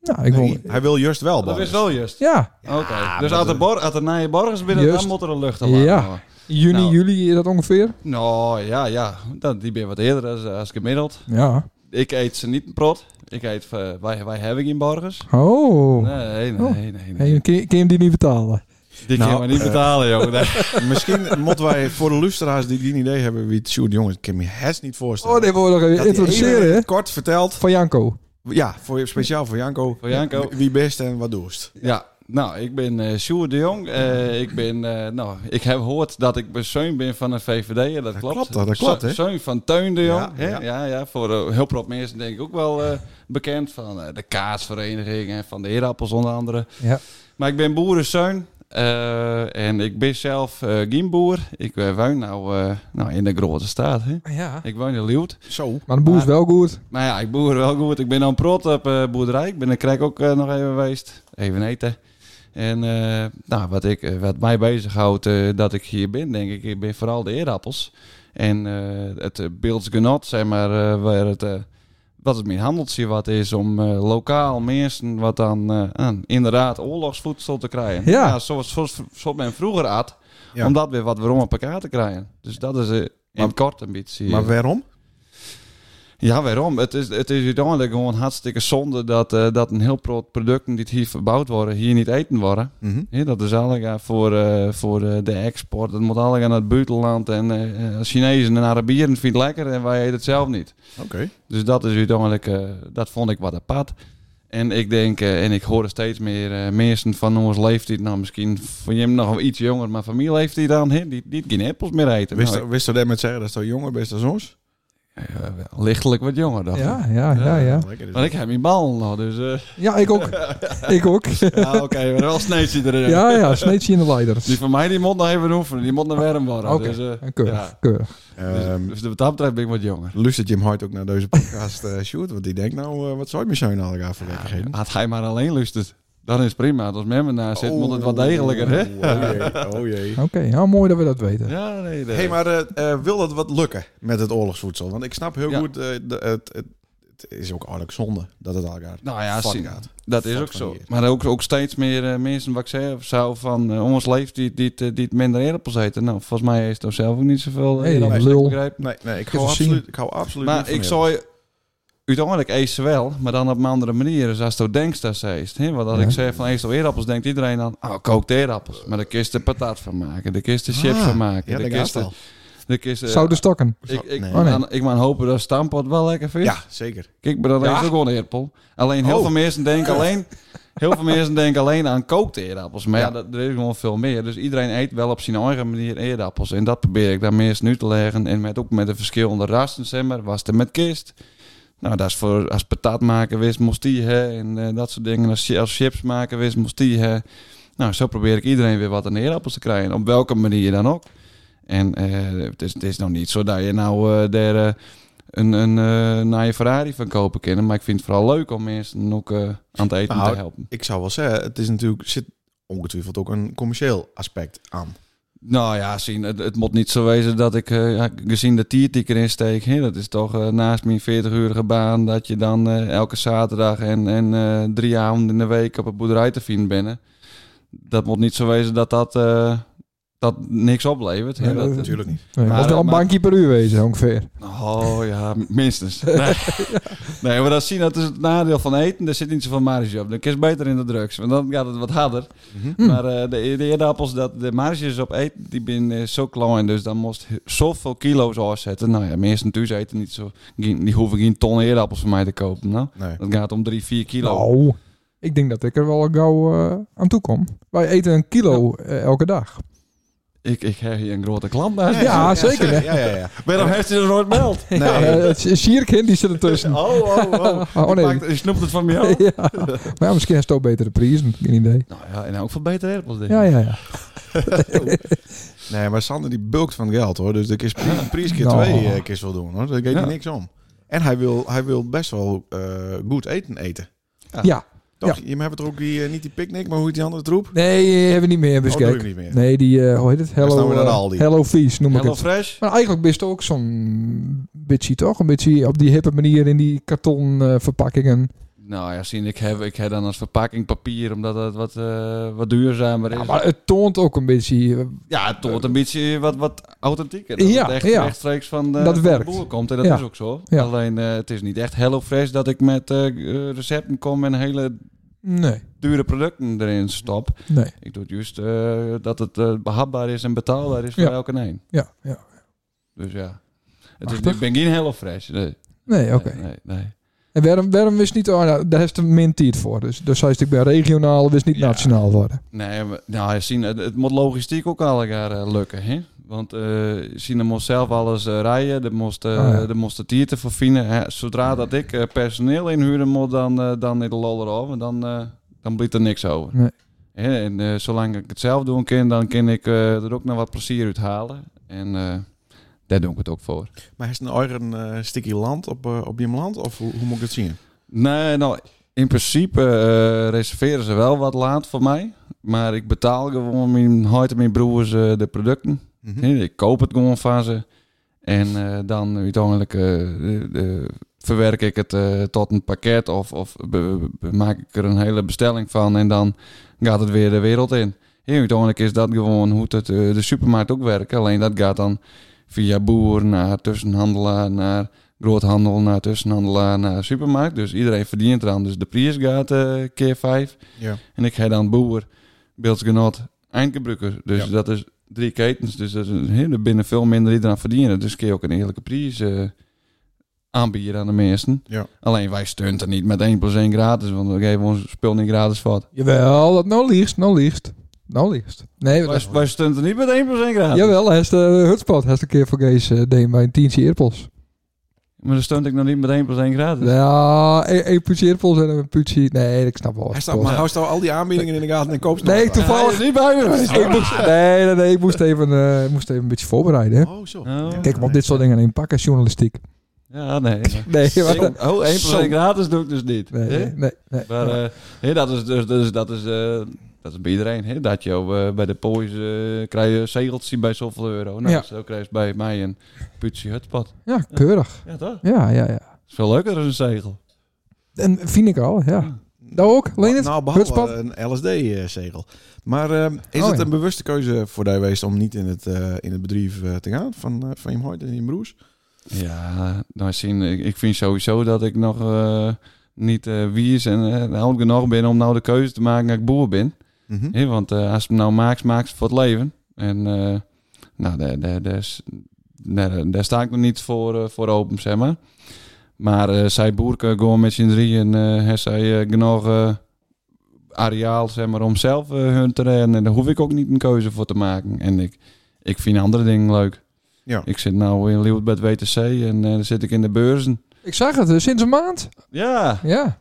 Speaker 2: Nou, ik wil...
Speaker 1: Nee, hij wil juist wel
Speaker 4: Oh, Dat
Speaker 1: borgers.
Speaker 4: is wel juist.
Speaker 2: Ja.
Speaker 4: Oké, dus
Speaker 1: maar
Speaker 4: als er,
Speaker 1: dat-
Speaker 4: bor- als er naar je borgers binnen,
Speaker 2: Juist.
Speaker 4: dan moet er een luchtalarm
Speaker 2: Ja.
Speaker 4: aan.
Speaker 2: Juni,
Speaker 4: Nou.
Speaker 2: juli is dat ongeveer?
Speaker 4: Nou, ja, ja. Dan, die ben wat eerder als, als gemiddeld.
Speaker 2: Ja.
Speaker 4: Ik eet ze niet prot. Ik eet, eh, wij, wij hebben geen borgers.
Speaker 2: Oh.
Speaker 4: Nee, nee,
Speaker 2: Oh.
Speaker 4: nee, nee. nee.
Speaker 2: Hey, kun, je, kun je hem die niet betalen?
Speaker 4: Die
Speaker 1: Nou,
Speaker 4: kunnen we niet
Speaker 1: eh,
Speaker 4: betalen, jongen. Nee.
Speaker 1: Misschien moeten wij voor de luisteraars die geen idee hebben wie het Sjoerd, jongens, ik kan me het niet voorstellen.
Speaker 2: Oh, dit wil ik nog even
Speaker 1: Dat hij even
Speaker 2: introduceren, hè?
Speaker 1: Kort verteld.
Speaker 2: Van Janko.
Speaker 1: Ja, voor, speciaal voor Janko.
Speaker 4: Voor Janko.
Speaker 1: Wie best en wat doest.
Speaker 4: Ja, nou, ik ben eh Sjoerd de Jong. Eh, ik ben, eh, nou, ik heb gehoord dat ik bezoon ben van een VVD. Dat, klopt.
Speaker 1: klopt, dat klopt, hè?
Speaker 4: Zoon van Teun de Jong.
Speaker 1: Ja,
Speaker 4: hè?
Speaker 1: ja.
Speaker 4: Ja, ja. voor eh, heel veel mensen denk ik ook wel eh, bekend. Van eh, de kaasvereniging en van de heerappels onder andere.
Speaker 2: Ja.
Speaker 4: Maar ik ben boerenzoon. eh, en ik ben zelf eh geen boer. Ik eh, woon nou, eh, nou in de grote staat. Hè?
Speaker 2: Ja.
Speaker 4: Ik woon in Leeuwarden.
Speaker 1: Zo.
Speaker 2: Maar de boer is
Speaker 4: Maar-
Speaker 2: wel goed.
Speaker 4: Maar ja, ik boer wel goed. Ik ben aan prot op eh, boerderij. Ik ben in Krijk ook eh, nog even geweest. Even eten. En eh, nou, wat, ik, eh, wat mij bezighoudt eh, dat ik hier ben, denk ik, ik ben vooral de eerappels. En eh, het eh, beeldsgenot, zeg maar, eh, waar het, eh, wat het mijn handeltje wat is om eh, lokaal mensen wat dan eh, aan, inderdaad oorlogsvoedsel te krijgen.
Speaker 2: Ja.
Speaker 4: zoals, zoals, zoals men vroeger at,
Speaker 1: Ja.
Speaker 4: om dat weer wat weer om op elkaar te krijgen. Dus dat is eh, in
Speaker 1: Maar-
Speaker 4: het kort een beetje. eh,
Speaker 1: Maar waarom?
Speaker 4: Ja, waarom? Het is, het is uiteindelijk gewoon hartstikke zonde dat, eh, dat een heel groot producten die hier verbouwd worden, hier niet eten worden.
Speaker 1: Mhm.
Speaker 4: Ja, dat is allemaal voor, eh, voor eh, de export. Dat moet allemaal naar het buitenland. En eh, eh, Chinezen en Arabieren vinden het lekker en wij eten het zelf niet.
Speaker 1: Oké.
Speaker 4: Dus dat is uiteindelijk, eh, dat vond ik wat apart. En ik denk, eh, en ik hoor steeds meer eh, mensen van ons leeftijd, nou misschien van je nog wel iets jonger, maar van mijn leeftijd dan, hè, die, die geen appels meer eten.
Speaker 1: Wist,
Speaker 4: Nou,
Speaker 1: je- wist je daarmee te zeggen dat zo jonger best als ons?
Speaker 4: ik- eh, wel lichtelijk wat jonger dan.
Speaker 2: Ja, ja, ja, ja.
Speaker 1: Lekker dus. is
Speaker 4: Want
Speaker 1: dat.
Speaker 4: ik heb mijn bal nog, dus... eh,
Speaker 2: Ja, ik ook. ik ook.
Speaker 4: Ja, oké, maar wel sneetje erin.
Speaker 2: Ja, ja, sneetje in de
Speaker 4: Die
Speaker 2: leiders.
Speaker 4: van mij die mond nog even oefenen, die mond naar warm worden.
Speaker 2: Oké,
Speaker 4: Dus, eh,
Speaker 2: En Keurig,
Speaker 4: ja.
Speaker 2: keurig.
Speaker 1: Ehm,
Speaker 4: dus de wat dat betreft ben ik wat jonger.
Speaker 1: Luistert Jim Hart ook naar deze podcast, eh Sjoerd? Want die denkt nou, eh, wat zou je zoon al gaan vergeten?
Speaker 4: Had hij maar alleen lust, dan is het prima. Als men me naast zit, moet het wat degelijker, hè?
Speaker 1: Oh jee, oh jee.
Speaker 2: Oké, nou mooi dat we dat weten.
Speaker 4: Ja, nee, nee.
Speaker 1: hey, maar eh, eh, wil dat wat lukken met het oorlogsvoedsel? Want ik snap heel
Speaker 4: Ja.
Speaker 1: goed, eh, de- het, het, het is ook aardig zonde dat het al gaat.
Speaker 4: Nou ja,
Speaker 1: Fuck
Speaker 4: zien.
Speaker 1: gaat.
Speaker 4: dat is
Speaker 1: Fuck
Speaker 4: ook
Speaker 1: van
Speaker 4: zo.
Speaker 1: hier.
Speaker 4: Maar ook, ook steeds meer eh, mensen, wat ik zei, zou van eh, ons leeft die, die, die, die het minder appels eten. Nou, volgens mij is het zelf ook niet zoveel. eh,
Speaker 2: Hey,
Speaker 4: eerdappels,
Speaker 2: lul.
Speaker 4: ik begrijp.
Speaker 1: Nee, nee ik,
Speaker 2: heb
Speaker 1: hou
Speaker 2: het gezien.
Speaker 1: absoluut, ik hou absoluut niet
Speaker 4: Maar
Speaker 1: van
Speaker 4: ik
Speaker 1: heel.
Speaker 4: zou uiteindelijk eet ze wel, maar dan op een andere manier. Dus als je denkt dat ze eet. hè, Want als
Speaker 2: Ja.
Speaker 4: ik zeg van eet al eerappels, denkt iedereen dan, oh, kook de eerappels. Maar daar kun je de patat van maken, daar kun je de chips
Speaker 1: Ah,
Speaker 4: van maken.
Speaker 1: Ja,
Speaker 4: daar
Speaker 1: dat
Speaker 4: kun je
Speaker 1: gaat
Speaker 4: de-
Speaker 1: wel.
Speaker 4: daar kun je de-
Speaker 2: Zouden stokken.
Speaker 4: Ik, ik,
Speaker 1: Nee.
Speaker 4: ik
Speaker 1: dus- Oh,
Speaker 2: nee.
Speaker 4: mag- ik mag hopen dat stampot wel lekker vindt.
Speaker 1: Ja, zeker.
Speaker 4: Kijk, maar dat
Speaker 2: Ja.
Speaker 4: is ook gewoon een eerpel. Alleen heel
Speaker 1: Oh.
Speaker 4: veel mensen denken alleen... Heel veel mensen denken alleen aan kookte eerdappels. Maar ja,
Speaker 1: Ja.
Speaker 4: dat, er is gewoon veel meer. Dus iedereen eet wel op zijn eigen manier eerdappels. En dat probeer ik daar mensen nu te leggen. En met, ook met de verschillende rassen, zeg maar. Was er met kist. Nou, dat is voor als patat maken wist, moest die hè. En eh, dat soort dingen. Als, chi- als chips maken wist, moest die hè. Nou, zo probeer ik iedereen weer wat aan eerdappels te krijgen. Op welke manier dan ook. En eh, het, is, het is nog niet zo dat je nou eh daar eh, een, een eh, naar je Ferrari van kopen kan. Maar ik vind het vooral leuk om mensen ook eh, aan het eten
Speaker 1: Nou,
Speaker 4: te helpen.
Speaker 1: Ik zou wel zeggen, het is natuurlijk, zit ongetwijfeld ook een commercieel aspect aan.
Speaker 4: Nou ja, zien, het, het moet niet zo wezen dat ik, eh, ja, gezien de tier die ik erin steek, hè, dat is toch eh, naast mijn 40-urige baan, dat je dan eh, elke zaterdag en, en eh, drie avonden in de week op een boerderij te vinden bent. hè. Dat moet niet zo wezen dat dat, eh, dat niks oplevert. hè.
Speaker 2: Nee,
Speaker 4: dat,
Speaker 2: dat-
Speaker 1: Natuurlijk niet.
Speaker 2: Nee,
Speaker 4: Maar,
Speaker 2: moet wel een
Speaker 4: maar-
Speaker 2: bankje per uur wezen ongeveer.
Speaker 4: Oh ja, minstens. Nee, nee maar dat, zien, dat is het nadeel van eten. Er zit niet zoveel marge op. Dan kun je beter in de drugs, want dan gaat het wat harder.
Speaker 2: Hm.
Speaker 4: Maar eh, de, de eerdappels, dat de marges op eten, die ben eh, zo klein. Dus dan moest je zoveel kilo's afzetten. Nou ja, mensen thuis eten niet zo. geen- Die hoeven geen ton eerdappels van mij te kopen. Nou,
Speaker 1: Nee.
Speaker 4: dat gaat om 3, 4 kilo.
Speaker 2: Nou, Ik denk dat ik er wel gauw eh, aan toe kom. Wij eten een kilo eh, elke dag.
Speaker 4: Ik, ik heb hier een grote klant naast.
Speaker 2: Ja, zeker, hè?
Speaker 1: Ja, ja, ja.
Speaker 4: Waarom heeft hij er nooit meld?
Speaker 1: Nee.
Speaker 2: Ja, eh, het is- Sierkind die zit ertussen.
Speaker 4: Oh, oh, oh.
Speaker 2: Oh, nee.
Speaker 4: Je pakt- Je snoept het van jou.
Speaker 2: ja. Maar ja, misschien heeft het ook betere prijzen. Geen idee.
Speaker 4: Nou ja, en ook veel betere appels, denk ik.
Speaker 2: Ja, ja, ja.
Speaker 1: Nee, maar Sander die bulkt van geld hoor. Dus ik is pri- prijs keer
Speaker 2: Nou.
Speaker 1: twee eh, keer wil doen hoor. Daar geeft hij
Speaker 4: Ja.
Speaker 1: niks om. En hij wil, hij wil best wel eh, goed eten eten.
Speaker 2: Ja.
Speaker 1: Toch? Je hebt er ook die, eh, niet die picknick, maar hoe heet die andere troep?
Speaker 2: Nee, hebben we niet meer. Dus
Speaker 1: Oh, doe
Speaker 2: kijk.
Speaker 1: ik niet meer.
Speaker 2: Nee, die, eh, hoe heet het?
Speaker 1: staan we
Speaker 2: Hello,
Speaker 1: naar de
Speaker 2: eh,
Speaker 1: Aldi.
Speaker 2: Hello Vies noem ik
Speaker 4: Hello
Speaker 2: het.
Speaker 4: Fresh.
Speaker 2: Maar eigenlijk best ook zo'n bitchie, toch? Een beetje op die hippe manier in die karton eh, verpakkingen.
Speaker 4: Nou ja, zien, ik heb, ik heb dan als verpakking papier, omdat het wat, eh, wat duurzamer is.
Speaker 2: Ja, maar het toont ook een beetje... eh,
Speaker 4: Ja, het wordt een beetje wat, wat authentieker. Dat
Speaker 2: Ja,
Speaker 4: het echt
Speaker 2: ja.
Speaker 4: rechtstreeks van de,
Speaker 2: Dat
Speaker 4: van de
Speaker 2: werkt.
Speaker 4: boer komt. En dat
Speaker 2: Ja.
Speaker 4: is ook zo.
Speaker 2: Ja.
Speaker 4: Alleen, eh, het is niet echt HelloFresh dat ik met eh, eh, recepten kom en hele
Speaker 2: nee,
Speaker 4: dure producten erin stop.
Speaker 2: nee.
Speaker 4: Ik doe het juist eh, dat het eh, behapbaar is en betaalbaar is voor
Speaker 2: Ja.
Speaker 4: elke een.
Speaker 2: Ja, ja.
Speaker 4: Dus ja. Het is,
Speaker 2: Machtig.
Speaker 4: ik ben geen HelloFresh. Nee,
Speaker 2: Nee, oké.
Speaker 4: nee, nee, nee.
Speaker 2: En waarom, waarom is niet... Oh, nou, daar heeft een min tijd voor. Dus, dus hij is ik bij regionaal, dus niet
Speaker 4: Ja.
Speaker 2: nationaal worden.
Speaker 4: Nee, maar, nou, zien, het, het moet logistiek ook al elkaar eh, lukken. Hè? Want eh zien, er moest zelf alles eh, rijden, er moest, eh
Speaker 2: Ah, ja.
Speaker 4: er moest het hier te verfijnen. Hè, Zodra dat ik eh, personeel inhuren moet, dan, eh, dan in de lol erover, dan, eh, dan blijft er niks over.
Speaker 2: Nee.
Speaker 4: Hè, en eh, zolang ik het zelf doen kan, dan kan ik eh, er ook nog wat plezier uit halen. En eh, daar doe ik het ook voor.
Speaker 1: Maar heeft een eigen eh sticky land op, eh, op je land? Of hoe, hoe moet ik het zien?
Speaker 4: Nee, nou, in principe eh, reserveren ze wel wat laat voor mij. Maar ik betaal gewoon mijn huid en mijn broers eh, de producten.
Speaker 1: Mhm.
Speaker 4: Nee, Ik koop het gewoon van ze. En eh, dan uiteindelijk eh, eh, eh, verwerk ik het eh, tot een pakket of, of be- be- be- maak ik er een hele bestelling van en dan gaat het weer de wereld in. Heel uiteindelijk is dat gewoon hoe het, eh, de supermarkt ook werkt. Alleen dat gaat dan via boer naar tussenhandelaar, naar groothandel, naar tussenhandelaar, naar supermarkt. Dus iedereen verdient eraan. Dus de prijs gaat eh, keer vijf.
Speaker 1: Ja.
Speaker 4: En ik ga dan boer, beeldgenot, eindgebruiker. Dus
Speaker 1: Ja.
Speaker 4: dat is drie ketens. Dus dat is een hele binnen veel minder die eraan verdienen. Dus kun je ook een eerlijke prijs eh, aanbieden aan de mensen.
Speaker 1: Ja.
Speaker 4: Alleen wij steunen het niet met 1 plus 1 gratis. Want we geven ons spul niet gratis wat.
Speaker 2: Jawel, dat nou liefst, nou liefst. Nou liefst. Nee, dat
Speaker 4: Wij, wij steunen het niet met 1 plus 1 gratis.
Speaker 2: Jawel, hij is de hutspot. Hij is een keer voor Gees eh deed bij een tientje eerpels.
Speaker 4: Maar dan steunt ik nog niet met 1 plus 1 gratis.
Speaker 2: Ja, één één putje eerpels en een putje... Nee, ik snap wel wat
Speaker 1: Hij
Speaker 2: het
Speaker 1: staat,
Speaker 2: kost.
Speaker 1: maar hou staan al die aanbiedingen in de gaten en koop ze nog
Speaker 2: Nee,
Speaker 1: wat.
Speaker 2: toevallig...
Speaker 4: Hij is niet bij me geweest.
Speaker 2: Ik moest, nee, nee, nee, ik moest even, eh, ik moest even een beetje voorbereiden. Hè.
Speaker 1: Oh, zo.
Speaker 4: Oh.
Speaker 1: Ja.
Speaker 2: Kijk, maar op dit soort dingen in pakken, journalistiek.
Speaker 4: Ja, nee.
Speaker 2: Nee, maar,
Speaker 4: Ik- oh, 1 plus
Speaker 2: Zo.
Speaker 4: 1 gratis doe ik dus niet.
Speaker 2: nee,
Speaker 4: hè?
Speaker 2: nee, nee, nee.
Speaker 4: Maar eh, hè, dat is dus, dus dat is, eh, dat is bij iedereen. Hè? Dat je eh, bij de poois eh krijg je zegeltje bij zoveel euro. Nou,
Speaker 2: Ja.
Speaker 4: zo krijg je bij mij een putje hutpad.
Speaker 2: ja, keurig.
Speaker 4: Ja, toch?
Speaker 2: Ja, ja, ja.
Speaker 4: is veel leuker dan een zegel.
Speaker 2: En vind ik al, ja. Nou ook, alleen het
Speaker 1: Nou, behalve
Speaker 2: hutspad.
Speaker 1: een LSD-zegel. eh, Maar ehm, is
Speaker 2: Oh,
Speaker 1: het
Speaker 2: ja.
Speaker 1: een bewuste keuze voor jou geweest om niet in het, eh, in het bedrijf eh, te gaan van, eh, van je hoort en je broers?
Speaker 4: Ja, nou zien, ik, ik vind sowieso dat ik nog eh, niet eh wie is en eh, oud genoeg ben om nou de keuze te maken dat ik boer ben.
Speaker 1: Mhm.
Speaker 4: Hè, want eh, als je hem nou maakt, maakt het voor het leven. En eh, nou, daar, daar, daar, is- daar, daar sta ik nog niet voor, eh, voor open, zeg maar. Maar eh, zij boerken gewoon met z'n drieën. en heeft zij eh, genoeg eh, areaal, zeg maar, om zelf eh, hun te rennen. En daar hoef ik ook niet een keuze voor te maken. En ik, ik vind andere dingen leuk.
Speaker 1: Ja.
Speaker 4: Ik zit nou in Leeuwarden bij het WTC en eh, dan zit ik in de beurzen.
Speaker 2: Ik zag het, eh, sinds een maand.
Speaker 4: Ja,
Speaker 2: Ja.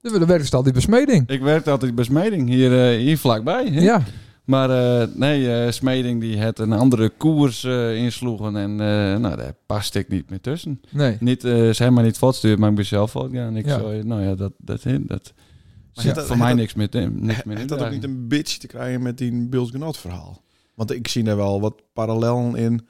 Speaker 2: De, de werkt al die besmeding.
Speaker 4: ik werk altijd bij Smeding, hier, eh, hier vlakbij. hè.
Speaker 2: Ja.
Speaker 4: Maar eh, nee, eh, Smeding die het een andere koers eh, insloegen en eh, nou, daar paste ik niet meer tussen.
Speaker 2: Nee.
Speaker 4: Niet, eh, ze hebben mij niet voortstuurd, maar ik ben zelf voortgegaan. Ik
Speaker 2: Ja.
Speaker 4: zei, nou ja, dat, dat, dat, dat
Speaker 1: Maar
Speaker 4: ja,
Speaker 1: zit dat-
Speaker 4: voor mij
Speaker 1: dat-
Speaker 4: niks meer, te- niks meer
Speaker 1: Heeft
Speaker 4: in
Speaker 1: dat ook
Speaker 4: dragen.
Speaker 1: niet een bitch te krijgen met die Bills verhaal? Want ik zie daar wel wat parallellen in.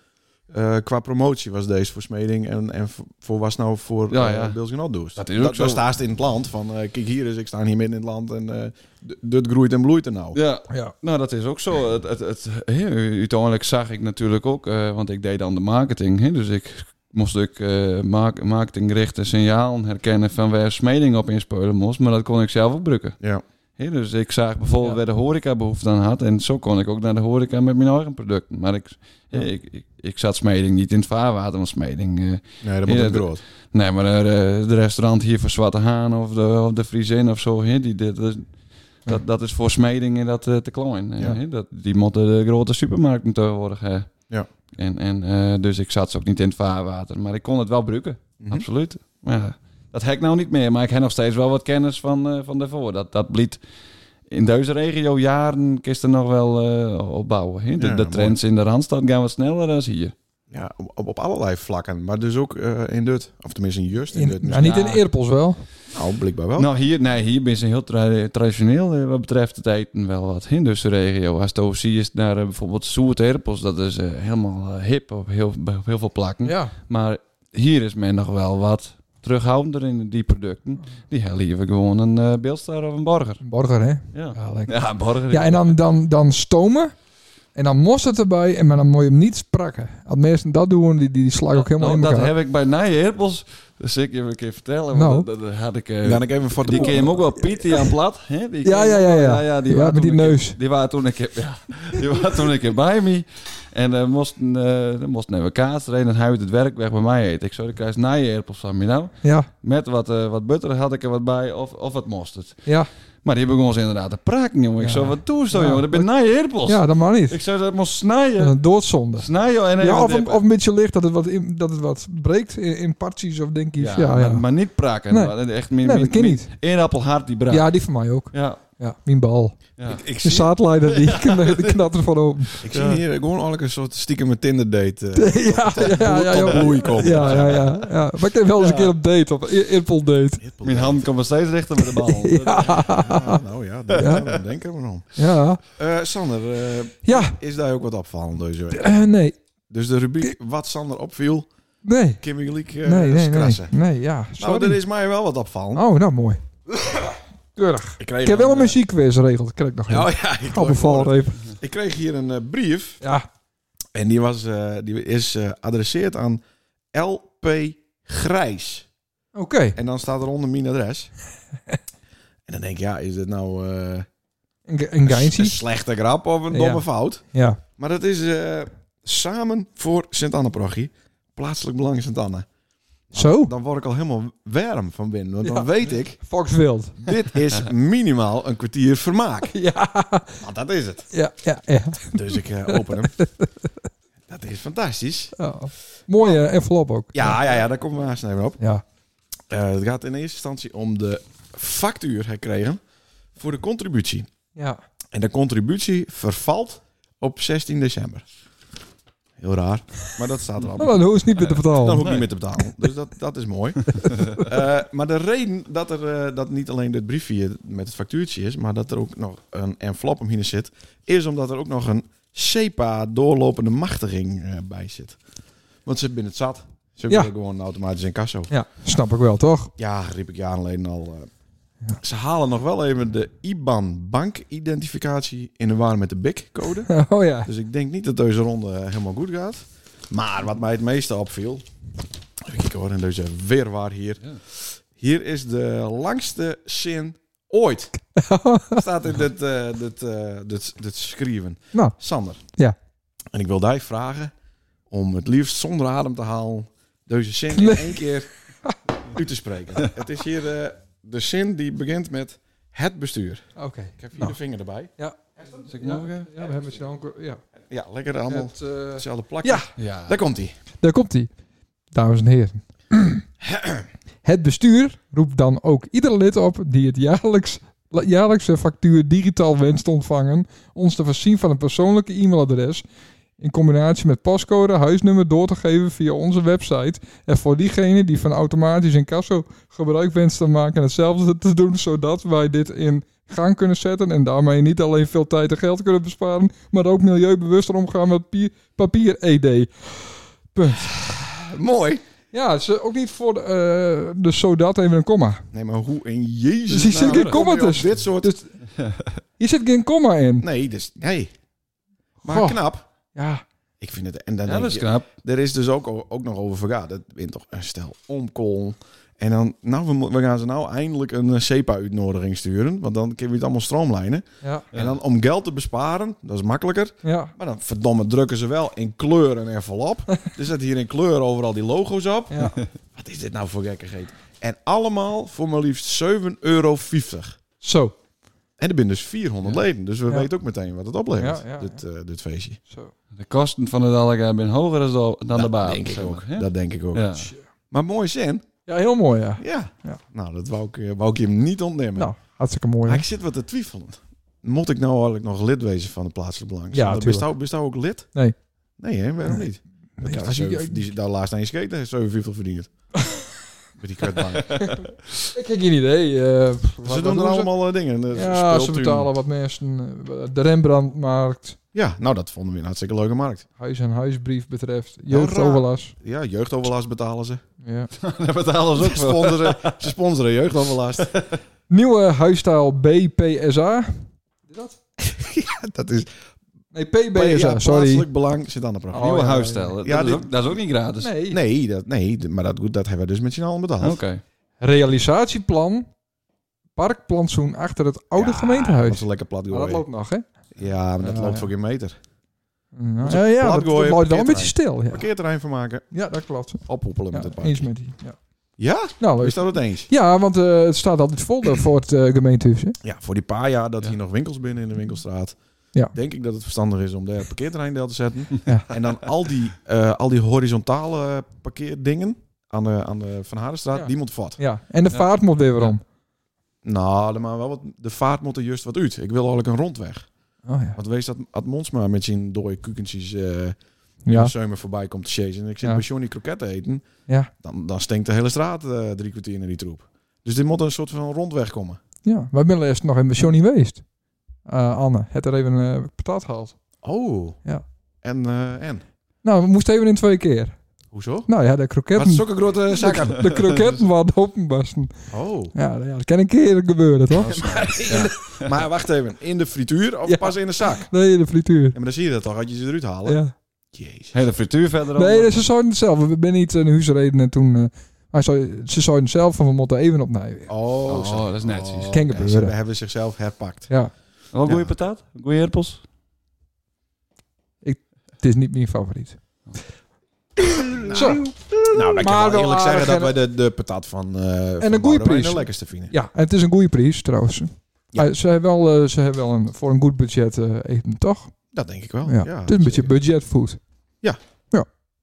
Speaker 1: eh, qua promotie was deze voor Smeding en, en voor- voor was nou voor
Speaker 4: Ja,
Speaker 1: ja,
Speaker 4: ja.
Speaker 1: Bills Genot doet.
Speaker 4: Dat is ook zo.
Speaker 1: Daar staat het in het land van, eh, kijk hier is, ik sta hier midden in het land en eh, d- dit groeit en bloeit er nou.
Speaker 4: Ja,
Speaker 2: Ja.
Speaker 4: nou dat is ook zo. Het, het, het, hè, uiteindelijk zag ik natuurlijk ook, eh, want ik deed dan de marketing. hè, dus ik moest ik eh mark marketinggerichte signalen herkennen van waar Smeding op inspelen moest. Maar dat kon ik zelf ook brukken.
Speaker 1: Ja.
Speaker 4: Hè, dus ik zag bijvoorbeeld
Speaker 2: Ja.
Speaker 4: waar de horeca behoefte aan had. En zo kon ik ook naar de horeca met mijn eigen producten. Maar ik, hè, ik, ik, ik zat smeding niet in het vaarwater, want smeding... eh,
Speaker 1: Nee, dat moet
Speaker 4: Ja,
Speaker 1: ook
Speaker 4: dat-
Speaker 1: groot.
Speaker 4: Nee, maar eh, de restaurant hier voor Zwarte Haan of de, of de Friesin of zo, hè, die, dit is- dat, dat is voor smeding en dat eh, te klein. eh,
Speaker 1: Ja.
Speaker 4: hè. dat, die moeten de grote supermarkt tegenwoordig. hè.
Speaker 1: Ja.
Speaker 4: En, en, eh, dus ik zat ze ook niet in het vaarwater, maar ik kon het wel gebruiken,
Speaker 1: Mhm.
Speaker 4: absoluut. Maar ja, dat heb ik nou niet meer, maar ik heb nog steeds wel wat kennis van, eh, van daarvoor. Dat, dat bliet in deze regio jaren kist er nog wel eh, opbouwen. Hè. De,
Speaker 1: Ja,
Speaker 4: de
Speaker 1: mooi.
Speaker 4: trends in de Randstad gaan wat sneller eh, dan hier.
Speaker 1: Ja, op, op- op allerlei vlakken. Maar dus ook eh, in dit. Of tenminste in Just. In,
Speaker 2: In,
Speaker 1: dit.
Speaker 2: nou, niet in
Speaker 4: Ja.
Speaker 2: Eerpels wel.
Speaker 1: Nou, blijkbaar wel.
Speaker 4: Nou, hier, nee, hier ben ze heel tra- traditioneel eh, wat betreft het eten wel wat Hindusse regio. Als het zie is naar eh, bijvoorbeeld Soerterpels, dat is eh, helemaal eh, hip op heel, op heel veel plakken.
Speaker 2: Ja.
Speaker 4: Maar hier is men nog wel wat terughoudender in die producten.
Speaker 1: Oh.
Speaker 4: Die hebben liever gewoon een eh beeldstar of een burger.
Speaker 2: Een Burger, hè?
Speaker 4: Ja,
Speaker 2: Ja, lekker.
Speaker 4: ja een burger.
Speaker 2: Ja, en dan, dan, dan stomen. En dan mosterd erbij. En maar dan moet je hem niet sprakken. Als mensen dat doen, die, die slaan ook helemaal
Speaker 4: Nou,
Speaker 2: in
Speaker 4: dat
Speaker 2: elkaar.
Speaker 4: heb ik bij Nijerpels. Dat zal ik je een keer vertellen.
Speaker 2: Nou.
Speaker 4: want Dat, dat had ik, eh,
Speaker 1: Dan ik even voor de
Speaker 4: die ken je hem ook wel, Pieter aan Plat. Hè? Die
Speaker 2: Ja,
Speaker 4: ken je
Speaker 2: ja, ja,
Speaker 4: ook wel.
Speaker 2: ja.
Speaker 4: die
Speaker 2: Ja,
Speaker 4: waren
Speaker 2: met die
Speaker 4: toen een
Speaker 2: neus.
Speaker 4: keer- die waren toen een keer, ja, die waren toen een keer bij me. En eh moesten, eh dan moesten even kaas erin en hij uit het werk weg bij mij eten. Ik zou de kruis naaierpels van me nou.
Speaker 2: Ja,
Speaker 4: Met wat, eh, wat butter had ik er wat bij of, of wat mosterd.
Speaker 2: ja.
Speaker 4: Maar die begon ze inderdaad te praken, jongen. Ik
Speaker 2: Ja.
Speaker 4: zou wat toestel,
Speaker 2: Ja,
Speaker 4: jongen. Dat ben naaierpels.
Speaker 2: ja, dat mag niet.
Speaker 4: Ik zou dat moest
Speaker 2: Dat is
Speaker 4: snijden.
Speaker 2: een doodzonde.
Speaker 4: Snijden en
Speaker 2: Ja,
Speaker 4: even
Speaker 2: of, een,
Speaker 4: dippen.
Speaker 2: of een beetje licht dat het wat, in, dat het wat breekt in, in partjes of denk ik. Ja, ja.
Speaker 4: Maar, maar niet praken.
Speaker 2: Nee.
Speaker 4: Echt, min,
Speaker 2: nee, dat kan niet.
Speaker 4: Eén appel hard die braak.
Speaker 2: Ja, die van mij ook.
Speaker 4: Ja.
Speaker 2: Ja, mijn bal.
Speaker 4: ja.
Speaker 1: Ik
Speaker 2: De
Speaker 1: zie,
Speaker 2: zaadleider, die kn- die knalt er van open.
Speaker 1: ik zie hier gewoon eigenlijk een soort stiekem een Tinder date. eh,
Speaker 2: Ja, ja, ja. Ja,
Speaker 1: op
Speaker 2: joh.
Speaker 1: bloei komen.
Speaker 2: ja, ja, ja, ja. Maar ik heb wel eens een keer op date, op i- impel date.
Speaker 4: Mijn hand komt nog steeds dichter bij de bal.
Speaker 1: Ja, nou ja, daar
Speaker 2: Ja.
Speaker 1: daar denken we om.
Speaker 2: Ja,
Speaker 1: Eh, Sander, eh,
Speaker 2: ja
Speaker 1: is daar ook wat opvallend deze week?
Speaker 2: eh, nee.
Speaker 1: Dus de rubriek wat Sander opviel,
Speaker 2: Nee,
Speaker 1: Kimmy Leek eh
Speaker 2: nee, nee, nee.
Speaker 1: krassen.
Speaker 2: Nee, ja.
Speaker 1: Nou, er
Speaker 2: Sorry.
Speaker 1: is mij wel wat opvallend.
Speaker 2: Oh, nou mooi. Keurig.
Speaker 1: Ik, kreeg
Speaker 2: Ik heb wel een
Speaker 1: eh,
Speaker 2: muziekquiz regeld. Krijg ik nog
Speaker 1: Oh
Speaker 2: even.
Speaker 1: ja, ik,
Speaker 2: Al bevallen even.
Speaker 1: ik kreeg hier een eh, brief
Speaker 2: Ja.
Speaker 1: en die, was, eh, die is eh adresseerd aan LP Grijs.
Speaker 2: Oké.
Speaker 1: En dan staat eronder mijn adres. en dan denk ik, ja, is dit nou eh,
Speaker 2: Een, ge- een
Speaker 1: een,
Speaker 2: geintje.
Speaker 1: slechte grap of een
Speaker 2: Ja.
Speaker 1: domme fout?
Speaker 2: Ja.
Speaker 1: Maar dat is eh, samen voor Sint-Anne-prochie. Plaatselijk Belang Sint-Anne.
Speaker 2: Zo.
Speaker 1: Dan word ik al helemaal warm van binnen. Want
Speaker 2: Ja.
Speaker 1: dan weet ik,
Speaker 2: Fox Wild.
Speaker 1: dit is minimaal een kwartier vermaak.
Speaker 2: Ja.
Speaker 1: Want dat is het.
Speaker 2: Ja, ja, ja.
Speaker 1: Dus ik eh, open hem. Dat is fantastisch.
Speaker 2: Oh. Mooie envelop ook.
Speaker 1: Ja, ja, ja, daar komen we haast even op.
Speaker 2: Ja.
Speaker 1: Eh, het gaat in eerste instantie om de factuur gekregen voor de contributie.
Speaker 2: Ja.
Speaker 1: En de contributie vervalt op 16 december. Heel raar, maar dat staat er
Speaker 2: Nou,
Speaker 1: al.
Speaker 2: dan hoef je niet meer te
Speaker 1: Eh, Dan
Speaker 2: vertalen.
Speaker 1: hoef ik niet meer te betalen. Dus dat, dat is mooi. Eh, maar de reden dat, er, eh, dat niet alleen dit briefje met het factuurtje is, maar dat er ook nog een envelop omheen zit, is omdat er ook nog een SEPA-doorlopende machtiging eh, bij zit. Want ze binnen het zat. Ze
Speaker 2: Ja.
Speaker 1: willen gewoon automatisch in kasso.
Speaker 2: Ja, snap ik wel, toch?
Speaker 1: Ja, riep ik jaren geleden al. eh. Ze halen nog wel even de IBAN-bankidentificatie in de war met de BIC-code.
Speaker 2: Oh ja.
Speaker 1: Dus ik denk niet dat deze ronde eh, helemaal goed gaat. Maar wat mij het meeste opviel... Even kijken hoor, in deze weerwaar hier.
Speaker 4: Ja.
Speaker 1: Hier is de langste zin ooit. Staat in dit, eh dit, eh, dit, dit schrijven.
Speaker 2: Nou.
Speaker 1: Sander.
Speaker 2: Ja.
Speaker 1: En ik wil jij vragen om het liefst zonder adem te halen... deze zin
Speaker 2: Nee.
Speaker 1: in één keer u te spreken. het is hier eh, de zin die begint met het bestuur.
Speaker 2: Oké.
Speaker 1: Ik heb hier
Speaker 2: Nou.
Speaker 1: de vinger erbij.
Speaker 4: Zal ik
Speaker 2: Ja,
Speaker 4: nog, eh?
Speaker 2: ja, we hebben het snel. Ja.
Speaker 1: Ja, lekker allemaal
Speaker 2: Het, eh,
Speaker 1: hetzelfde plakje.
Speaker 2: Ja.
Speaker 4: Ja.
Speaker 1: Daar komt hij.
Speaker 2: Daar komt hij. Dames en heren. het bestuur roept dan ook ieder lid op die het jaarlijks, la- jaarlijkse factuur digitaal wenst te ontvangen, ons te voorzien van een persoonlijke e-mailadres in combinatie met pascode, huisnummer door te geven via onze website. En voor diegenen die van automatisch incasso gebruik wenst te maken, hetzelfde te doen, zodat wij dit in gang kunnen zetten en daarmee niet alleen veel tijd en geld kunnen besparen, maar ook milieubewuster omgaan met pie- papier-ED.
Speaker 1: Mooi.
Speaker 2: Ja, ze ook niet voor de, eh, dus zodat even een komma.
Speaker 1: Nee, maar hoe in Jezus
Speaker 2: Dus hier zit geen
Speaker 1: kom je
Speaker 2: komma
Speaker 1: op
Speaker 2: tussen.
Speaker 1: Dit soort...
Speaker 2: Dus- Hier zit geen komma in.
Speaker 1: Nee, dus... Hey. Maar
Speaker 2: Goh.
Speaker 1: knap.
Speaker 2: Ja,
Speaker 1: Ik vind het... En dan
Speaker 4: Ja,
Speaker 1: denk
Speaker 4: dat is
Speaker 1: je-
Speaker 4: knap.
Speaker 1: Er is dus ook, ook nog over vergaan. Dat wint toch een stel omkool. En dan, nou, we, mo- we gaan ze nou eindelijk een CEPA-uitnodiging sturen. Want dan kunnen we het allemaal stroomlijnen.
Speaker 2: Ja,
Speaker 1: En dan om geld te besparen, dat is makkelijker.
Speaker 2: ja,
Speaker 1: Maar dan, verdomme, drukken ze wel in kleur een envelop. er zitten hier in kleur overal die logo's op.
Speaker 2: ja.
Speaker 1: Wat is dit nou voor gekkigheid? En allemaal voor maar liefst 7,50 euro.
Speaker 2: Zo.
Speaker 1: En er zijn dus 400
Speaker 4: Ja.
Speaker 1: leden. Dus we
Speaker 2: Ja.
Speaker 1: weten ook meteen wat het oplevert,
Speaker 2: Ja, ja,
Speaker 1: dit, eh, dit feestje.
Speaker 2: Zo.
Speaker 4: De kosten van het alga zijn hoger dan de- dan de
Speaker 1: Dat
Speaker 4: baan.
Speaker 1: denk ik ook.
Speaker 4: hè?
Speaker 1: Dat denk ik ook.
Speaker 4: Ja.
Speaker 1: Maar mooi zin.
Speaker 2: Ja, heel mooi, ja.
Speaker 1: Ja.
Speaker 2: Ja.
Speaker 1: Nou, dat wou ik, eh, wou ik je hem niet ontnemen.
Speaker 2: Nou, hartstikke mooi.
Speaker 1: Maar
Speaker 2: hè?
Speaker 1: ik zit wat te twijfelen. Moet ik nou eigenlijk nog lid wezen van de plaatselijke belang?
Speaker 2: Ja, tuurlijk.
Speaker 1: Bestou, bestou nou- ook lid?
Speaker 2: Nee.
Speaker 1: Nee, hè? waarom
Speaker 2: Nee.
Speaker 1: niet?
Speaker 2: Ja,
Speaker 1: Ja,
Speaker 2: als je-
Speaker 1: die, die, daar laatst aan je skate, heeft 57 verdiend. Met die kutbank.
Speaker 2: ik heb geen idee. eh, pff, wat-
Speaker 1: Ze
Speaker 2: wat
Speaker 1: doen er
Speaker 2: ze?
Speaker 1: allemaal eh, dingen. eh,
Speaker 2: Ja, ze
Speaker 1: speeltuin.
Speaker 2: betalen wat mensen. eh, De Rembrandtmarkt,
Speaker 1: Ja, nou dat vonden we een hartstikke leuke markt.
Speaker 2: huis- en huisbrief betreft,
Speaker 1: raar.
Speaker 2: jeugdoverlast.
Speaker 1: Ja, jeugdoverlast betalen ze.
Speaker 2: Ja.
Speaker 4: Dat betalen ze
Speaker 1: Ze
Speaker 4: ook voor.
Speaker 1: sponsoren, ze sponsoren jeugdoverlast.
Speaker 2: Nieuwe huisstijl BPSA.
Speaker 1: dat is
Speaker 2: Nee, PBSA,
Speaker 1: PSA,
Speaker 2: sorry.
Speaker 1: plaatselijk belang zit aan de programma.
Speaker 2: Oh,
Speaker 4: Nieuwe
Speaker 2: ja,
Speaker 4: huisstijl. Dat,
Speaker 1: ja. Ja,
Speaker 4: is
Speaker 1: dit-
Speaker 4: ook, dat is ook niet gratis.
Speaker 2: Nee.
Speaker 1: Nee, dat, nee, d- maar dat, goed, dat hebben we dus met z'n allen betaald.
Speaker 4: Oké.
Speaker 2: Realisatieplan, parkplantsoen achter het oude
Speaker 1: Ja, Dat
Speaker 2: gemeentehuis.
Speaker 1: is een lekker plat
Speaker 2: Maar dat
Speaker 1: gooien.
Speaker 2: loopt nog, hè?
Speaker 1: Ja, maar dat
Speaker 2: Ja,
Speaker 1: loopt
Speaker 2: ja.
Speaker 1: voor geen meter.
Speaker 2: Ja,
Speaker 1: is
Speaker 2: ja, ja, dat, dat
Speaker 1: platgooien,
Speaker 2: loopt wel een beetje
Speaker 1: parkeerterrein.
Speaker 2: stil. Ja,
Speaker 1: Parkeerterrein van maken,
Speaker 2: ja dat klopt.
Speaker 1: oppoepelen
Speaker 2: Ja,
Speaker 1: met het
Speaker 2: eens
Speaker 1: park.
Speaker 2: met die. Ja,
Speaker 1: Ja?
Speaker 2: nou, leuk.
Speaker 1: Is dat het eens?
Speaker 2: ja want eh, het staat altijd vol daar voor het eh, gemeentehuis. Hè?
Speaker 1: Ja, voor die paar jaar dat
Speaker 4: Ja.
Speaker 1: hier nog winkels binnen in de winkelstraat.
Speaker 2: Ja.
Speaker 1: Denk ik dat het verstandig is om daar parkeerterrein deel te zetten.
Speaker 2: Ja.
Speaker 1: En dan al die, eh, al die horizontale eh, parkeerdingen aan de, aan de Van Harenstraat,
Speaker 2: Ja.
Speaker 1: die moet vat.
Speaker 2: Ja. En de
Speaker 4: Ja.
Speaker 2: vaart moet weer weer om.
Speaker 1: Nou, maar wel wat, de vaart moet er juist wat uit. Ik wil eigenlijk een rondweg.
Speaker 2: Oh, ja.
Speaker 1: Want wees dat Ad Monsma met zijn dode kukentjes eh in
Speaker 2: Ja.
Speaker 1: de zomer voorbij komt te chasen. En ik zit
Speaker 2: Ja.
Speaker 1: bij Johnny kroketten eten.
Speaker 2: Ja.
Speaker 1: Dan, dan stinkt de hele straat eh, drie kwartier naar die troep. Dus dit moet een soort van rondweg komen.
Speaker 2: ja. Wij zijn eerst nog in met Johnny geweest. Eh, Anne, het er even eh patat gehaald.
Speaker 1: Oh.
Speaker 2: Ja.
Speaker 1: En, eh, en?
Speaker 2: Nou, we moesten even in twee keer.
Speaker 1: Hoezo?
Speaker 2: Nou ja, de
Speaker 1: Wat
Speaker 2: kroketten.
Speaker 1: zulke grote zakken.
Speaker 2: De, de kroketten waren openbarsten.
Speaker 1: Oh.
Speaker 2: Ja, ja, dat kan een keer gebeuren, toch?
Speaker 1: Maar wacht even. In de frituur of
Speaker 2: Ja.
Speaker 1: pas in de zak? Ja,
Speaker 2: Nee, de frituur.
Speaker 1: maar dan zie je dat toch, als je ze eruit halen.
Speaker 2: Ja.
Speaker 1: Jezus.
Speaker 4: Hele frituur verder.
Speaker 2: Nee, ze zouden het zelf. We zijn niet een huisreden en toen... eh, maar ze ze zouden het zelf van we moeten even opnieuw.
Speaker 1: Oh,
Speaker 4: Oh,
Speaker 1: zo.
Speaker 4: dat is netjes.
Speaker 2: Kan gebeuren.
Speaker 1: en Ze hebben zichzelf herpakt.
Speaker 2: Ja,
Speaker 4: Wat
Speaker 1: Ja.
Speaker 4: goeie patat? Goeie herpels?
Speaker 2: het is niet mijn favoriet. Zo.
Speaker 1: Nou, dan kan
Speaker 2: Mm, Maar
Speaker 1: ik wel
Speaker 2: wel
Speaker 1: eerlijk zeggen dat wij
Speaker 2: aardig
Speaker 1: de, de patat van, eh van
Speaker 2: een goeie
Speaker 1: Boudewijn
Speaker 2: prijs.
Speaker 1: de lekkerste vinden.
Speaker 2: Ja, en het is een goede prijs trouwens.
Speaker 1: Ja.
Speaker 2: Eh, ze hebben wel, eh, ze hebben wel een, voor een goed budget eh, eten, toch?
Speaker 1: Dat denk ik wel.
Speaker 2: ja.
Speaker 1: Oh, Ja,
Speaker 2: het is een beetje
Speaker 1: zeker.
Speaker 2: budgetfood.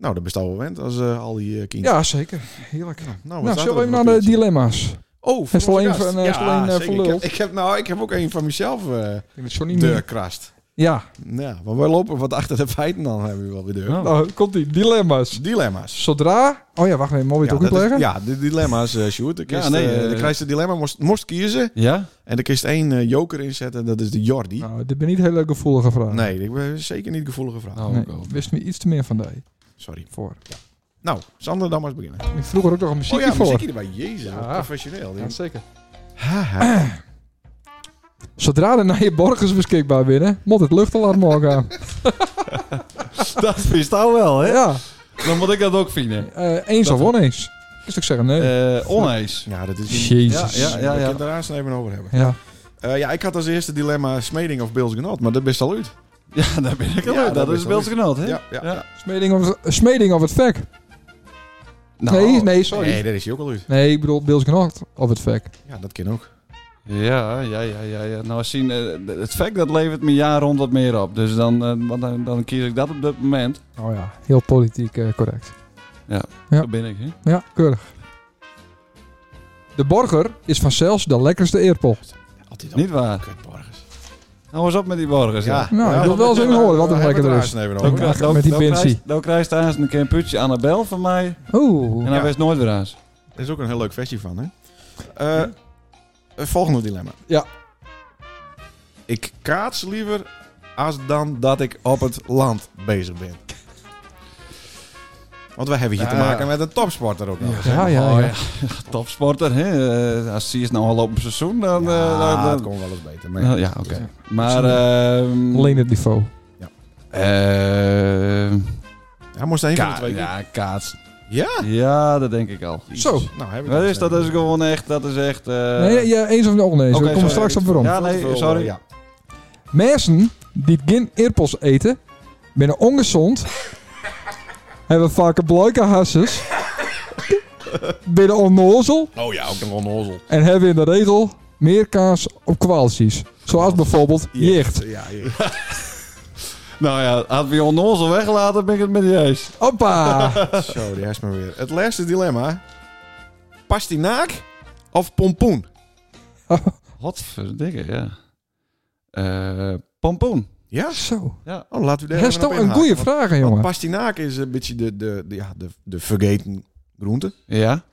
Speaker 1: Nou, dat bestaan we wel wend als eh, al die eh kinderen.
Speaker 2: Ja, zeker. Heerlijk.
Speaker 1: Nou, wat
Speaker 2: nou,
Speaker 1: staat er
Speaker 2: zullen we even
Speaker 1: op dat
Speaker 2: naar de
Speaker 1: biertje?
Speaker 2: dilemma's?
Speaker 1: Oh,
Speaker 2: Is er
Speaker 1: onze
Speaker 2: alleen
Speaker 1: gast.
Speaker 2: van- eh, is er alleen, eh,
Speaker 1: zeker.
Speaker 2: voor
Speaker 1: ik,
Speaker 2: lul?
Speaker 1: heb, ik heb nou, ik heb ook een van mezelf eh
Speaker 2: Ik vind Johnny
Speaker 1: de krast.
Speaker 2: Ja,
Speaker 1: Ja, maar we lopen wat achter de feiten dan hebben we wel weer deur.
Speaker 2: nou komt die dilemma's.
Speaker 1: Dilemma's.
Speaker 2: Zodra... Oh ja, wacht even, moet je het ook
Speaker 1: dat is-
Speaker 2: uitleggen?
Speaker 1: ja, de dilemma's, eh Sjoerd. De kist,
Speaker 4: Ja, nee,
Speaker 1: eh,
Speaker 4: eh,
Speaker 1: de krijgste dilemma moest, moest kiezen.
Speaker 4: Ja?
Speaker 1: En de kist één eh, joker inzetten. Dat is de Jordi.
Speaker 2: Nou, dit ben niet hele gevoelige vraag.
Speaker 1: Nee, ik ben zeker niet gevoelige vraag.
Speaker 4: Oh,
Speaker 2: Nee,
Speaker 4: ook.
Speaker 2: wist me iets te meer van die
Speaker 1: Sorry.
Speaker 2: voor.
Speaker 1: Nou, Sander, dan maar eens beginnen.
Speaker 2: Ik vroeg er ook nog een muziekje
Speaker 1: oh ja,
Speaker 2: voor.
Speaker 1: muziekje erbij. Jezus,
Speaker 2: Ja.
Speaker 1: wat professioneel.
Speaker 2: Ja, zeker.
Speaker 1: Haha.
Speaker 2: Zodra de nieuwe borgers beschikbaar binnen, moet het luchtalarm al gaan.
Speaker 4: Dat is nou wel, hè?
Speaker 2: ja,
Speaker 4: Dan moet ik dat ook vinden.
Speaker 2: eh, eens of oneens. Ik zou zeggen nee.
Speaker 4: Eh oneens.
Speaker 1: Ja, dat is...
Speaker 2: Jezus.
Speaker 4: Eh, ja, ja,
Speaker 1: We
Speaker 4: ja.
Speaker 1: kunnen het er aanstaan even over hebben.
Speaker 2: Ja.
Speaker 1: Eh, ja, ik had als eerste dilemma Smeding of Bills Genot, maar dat best al uit.
Speaker 4: Ja, daar ben ik al
Speaker 1: Ja,
Speaker 4: uit.
Speaker 1: daar
Speaker 4: Dat
Speaker 1: ben
Speaker 4: is
Speaker 1: ik
Speaker 4: Beels genoot, hè?
Speaker 1: Ja, ja.
Speaker 4: Ja.
Speaker 2: Smeding, of, smeding of het vak.
Speaker 4: Nou,
Speaker 2: nee, nee, sorry. Nee,
Speaker 1: Nee, dat is hij ook al uit.
Speaker 2: ik bedoel Bills Knocht of het vak.
Speaker 1: Ja, dat kan ook.
Speaker 4: Ja, ja, ja, ja, ja. Nou, zien, eh, het fact dat levert me jaar rond wat meer op. Dus dan, eh, want dan, dan kies ik dat op dat moment.
Speaker 2: Oh ja, heel politiek eh, correct. Ja.
Speaker 4: Zo ben ik, hè?
Speaker 2: Ja, keurig. De borger is vanzelf de lekkerste eerpel.
Speaker 1: Altijd
Speaker 4: Niet waar.
Speaker 1: Kutborgers.
Speaker 4: Nou, eens op met die borgers. hè.
Speaker 2: Nou, ik wil wel eens even horen wat er lekker is.
Speaker 1: Even
Speaker 2: Ook
Speaker 1: over.
Speaker 2: wel. met die Benzie.
Speaker 4: krijgt- Dan krijgt hij eens een keer een putje Annabel van mij. En
Speaker 2: Oeh.
Speaker 4: hij
Speaker 1: Ja.
Speaker 4: wist nooit weer eens.
Speaker 1: Er is ook een heel leuk versie van, hè? Eh, eh, Volgende dilemma.
Speaker 2: Ja.
Speaker 1: Ik kaats liever als dan dat ik op het land bezig ben. Want wij hebben hier te
Speaker 4: Ja.
Speaker 1: maken met een topsporter ook nog eens. hè?
Speaker 2: Ja, ja,
Speaker 4: Oh,
Speaker 2: ja.
Speaker 4: Topsporter, hè? Eh, als hij is nou al op seizoen, dan... eh,
Speaker 1: Ja,
Speaker 4: dan-
Speaker 1: dat
Speaker 4: dan-
Speaker 1: komt wel eens beter.
Speaker 4: Nou,
Speaker 1: Maar
Speaker 4: ja, oké. Maar... ehm,
Speaker 2: Alleen het niveau.
Speaker 4: ehm,
Speaker 1: hij moest één van de
Speaker 4: Ka
Speaker 1: twee keer.
Speaker 4: ja, kaats.
Speaker 1: Ja?
Speaker 4: Ja, dat denk ik al.
Speaker 2: Zo.
Speaker 1: Nou, heb ik
Speaker 4: Dat is, dat is gewoon echt, dat is echt... eh,
Speaker 2: nee, ja, eens of oneens.
Speaker 4: oké,
Speaker 2: We komen
Speaker 4: sorry.
Speaker 2: straks op waarom.
Speaker 4: Ja, nee, sorry.
Speaker 1: Ja.
Speaker 2: Mensen die geen eerpels eten, binnen ongezond, hebben vaak bluike hasses, binnen onnozel
Speaker 1: Oh ja, ook een onnozel.
Speaker 2: en hebben in de regel meer kaas op kwaaltjes. Zoals bijvoorbeeld jicht.
Speaker 1: Ja,
Speaker 4: Nou ja, had we onnozel weggelaten, ben ik het met je eens.
Speaker 2: Hoppa!
Speaker 1: Zo, die is maar weer. Het laatste dilemma. Pastinaak of pompoen?
Speaker 4: Godverdikke, ja. Eh pompoen.
Speaker 1: Ja?
Speaker 2: Zo.
Speaker 1: Oh, laten we daar
Speaker 2: Dat
Speaker 1: even
Speaker 2: is
Speaker 1: op
Speaker 2: toch een
Speaker 1: inhaken,
Speaker 2: goede
Speaker 1: want-
Speaker 2: vraag, hè,
Speaker 1: want
Speaker 2: jongen.
Speaker 1: Pastinaak is een beetje de, de, de, ja, de, de vergeten groente.
Speaker 4: Ja?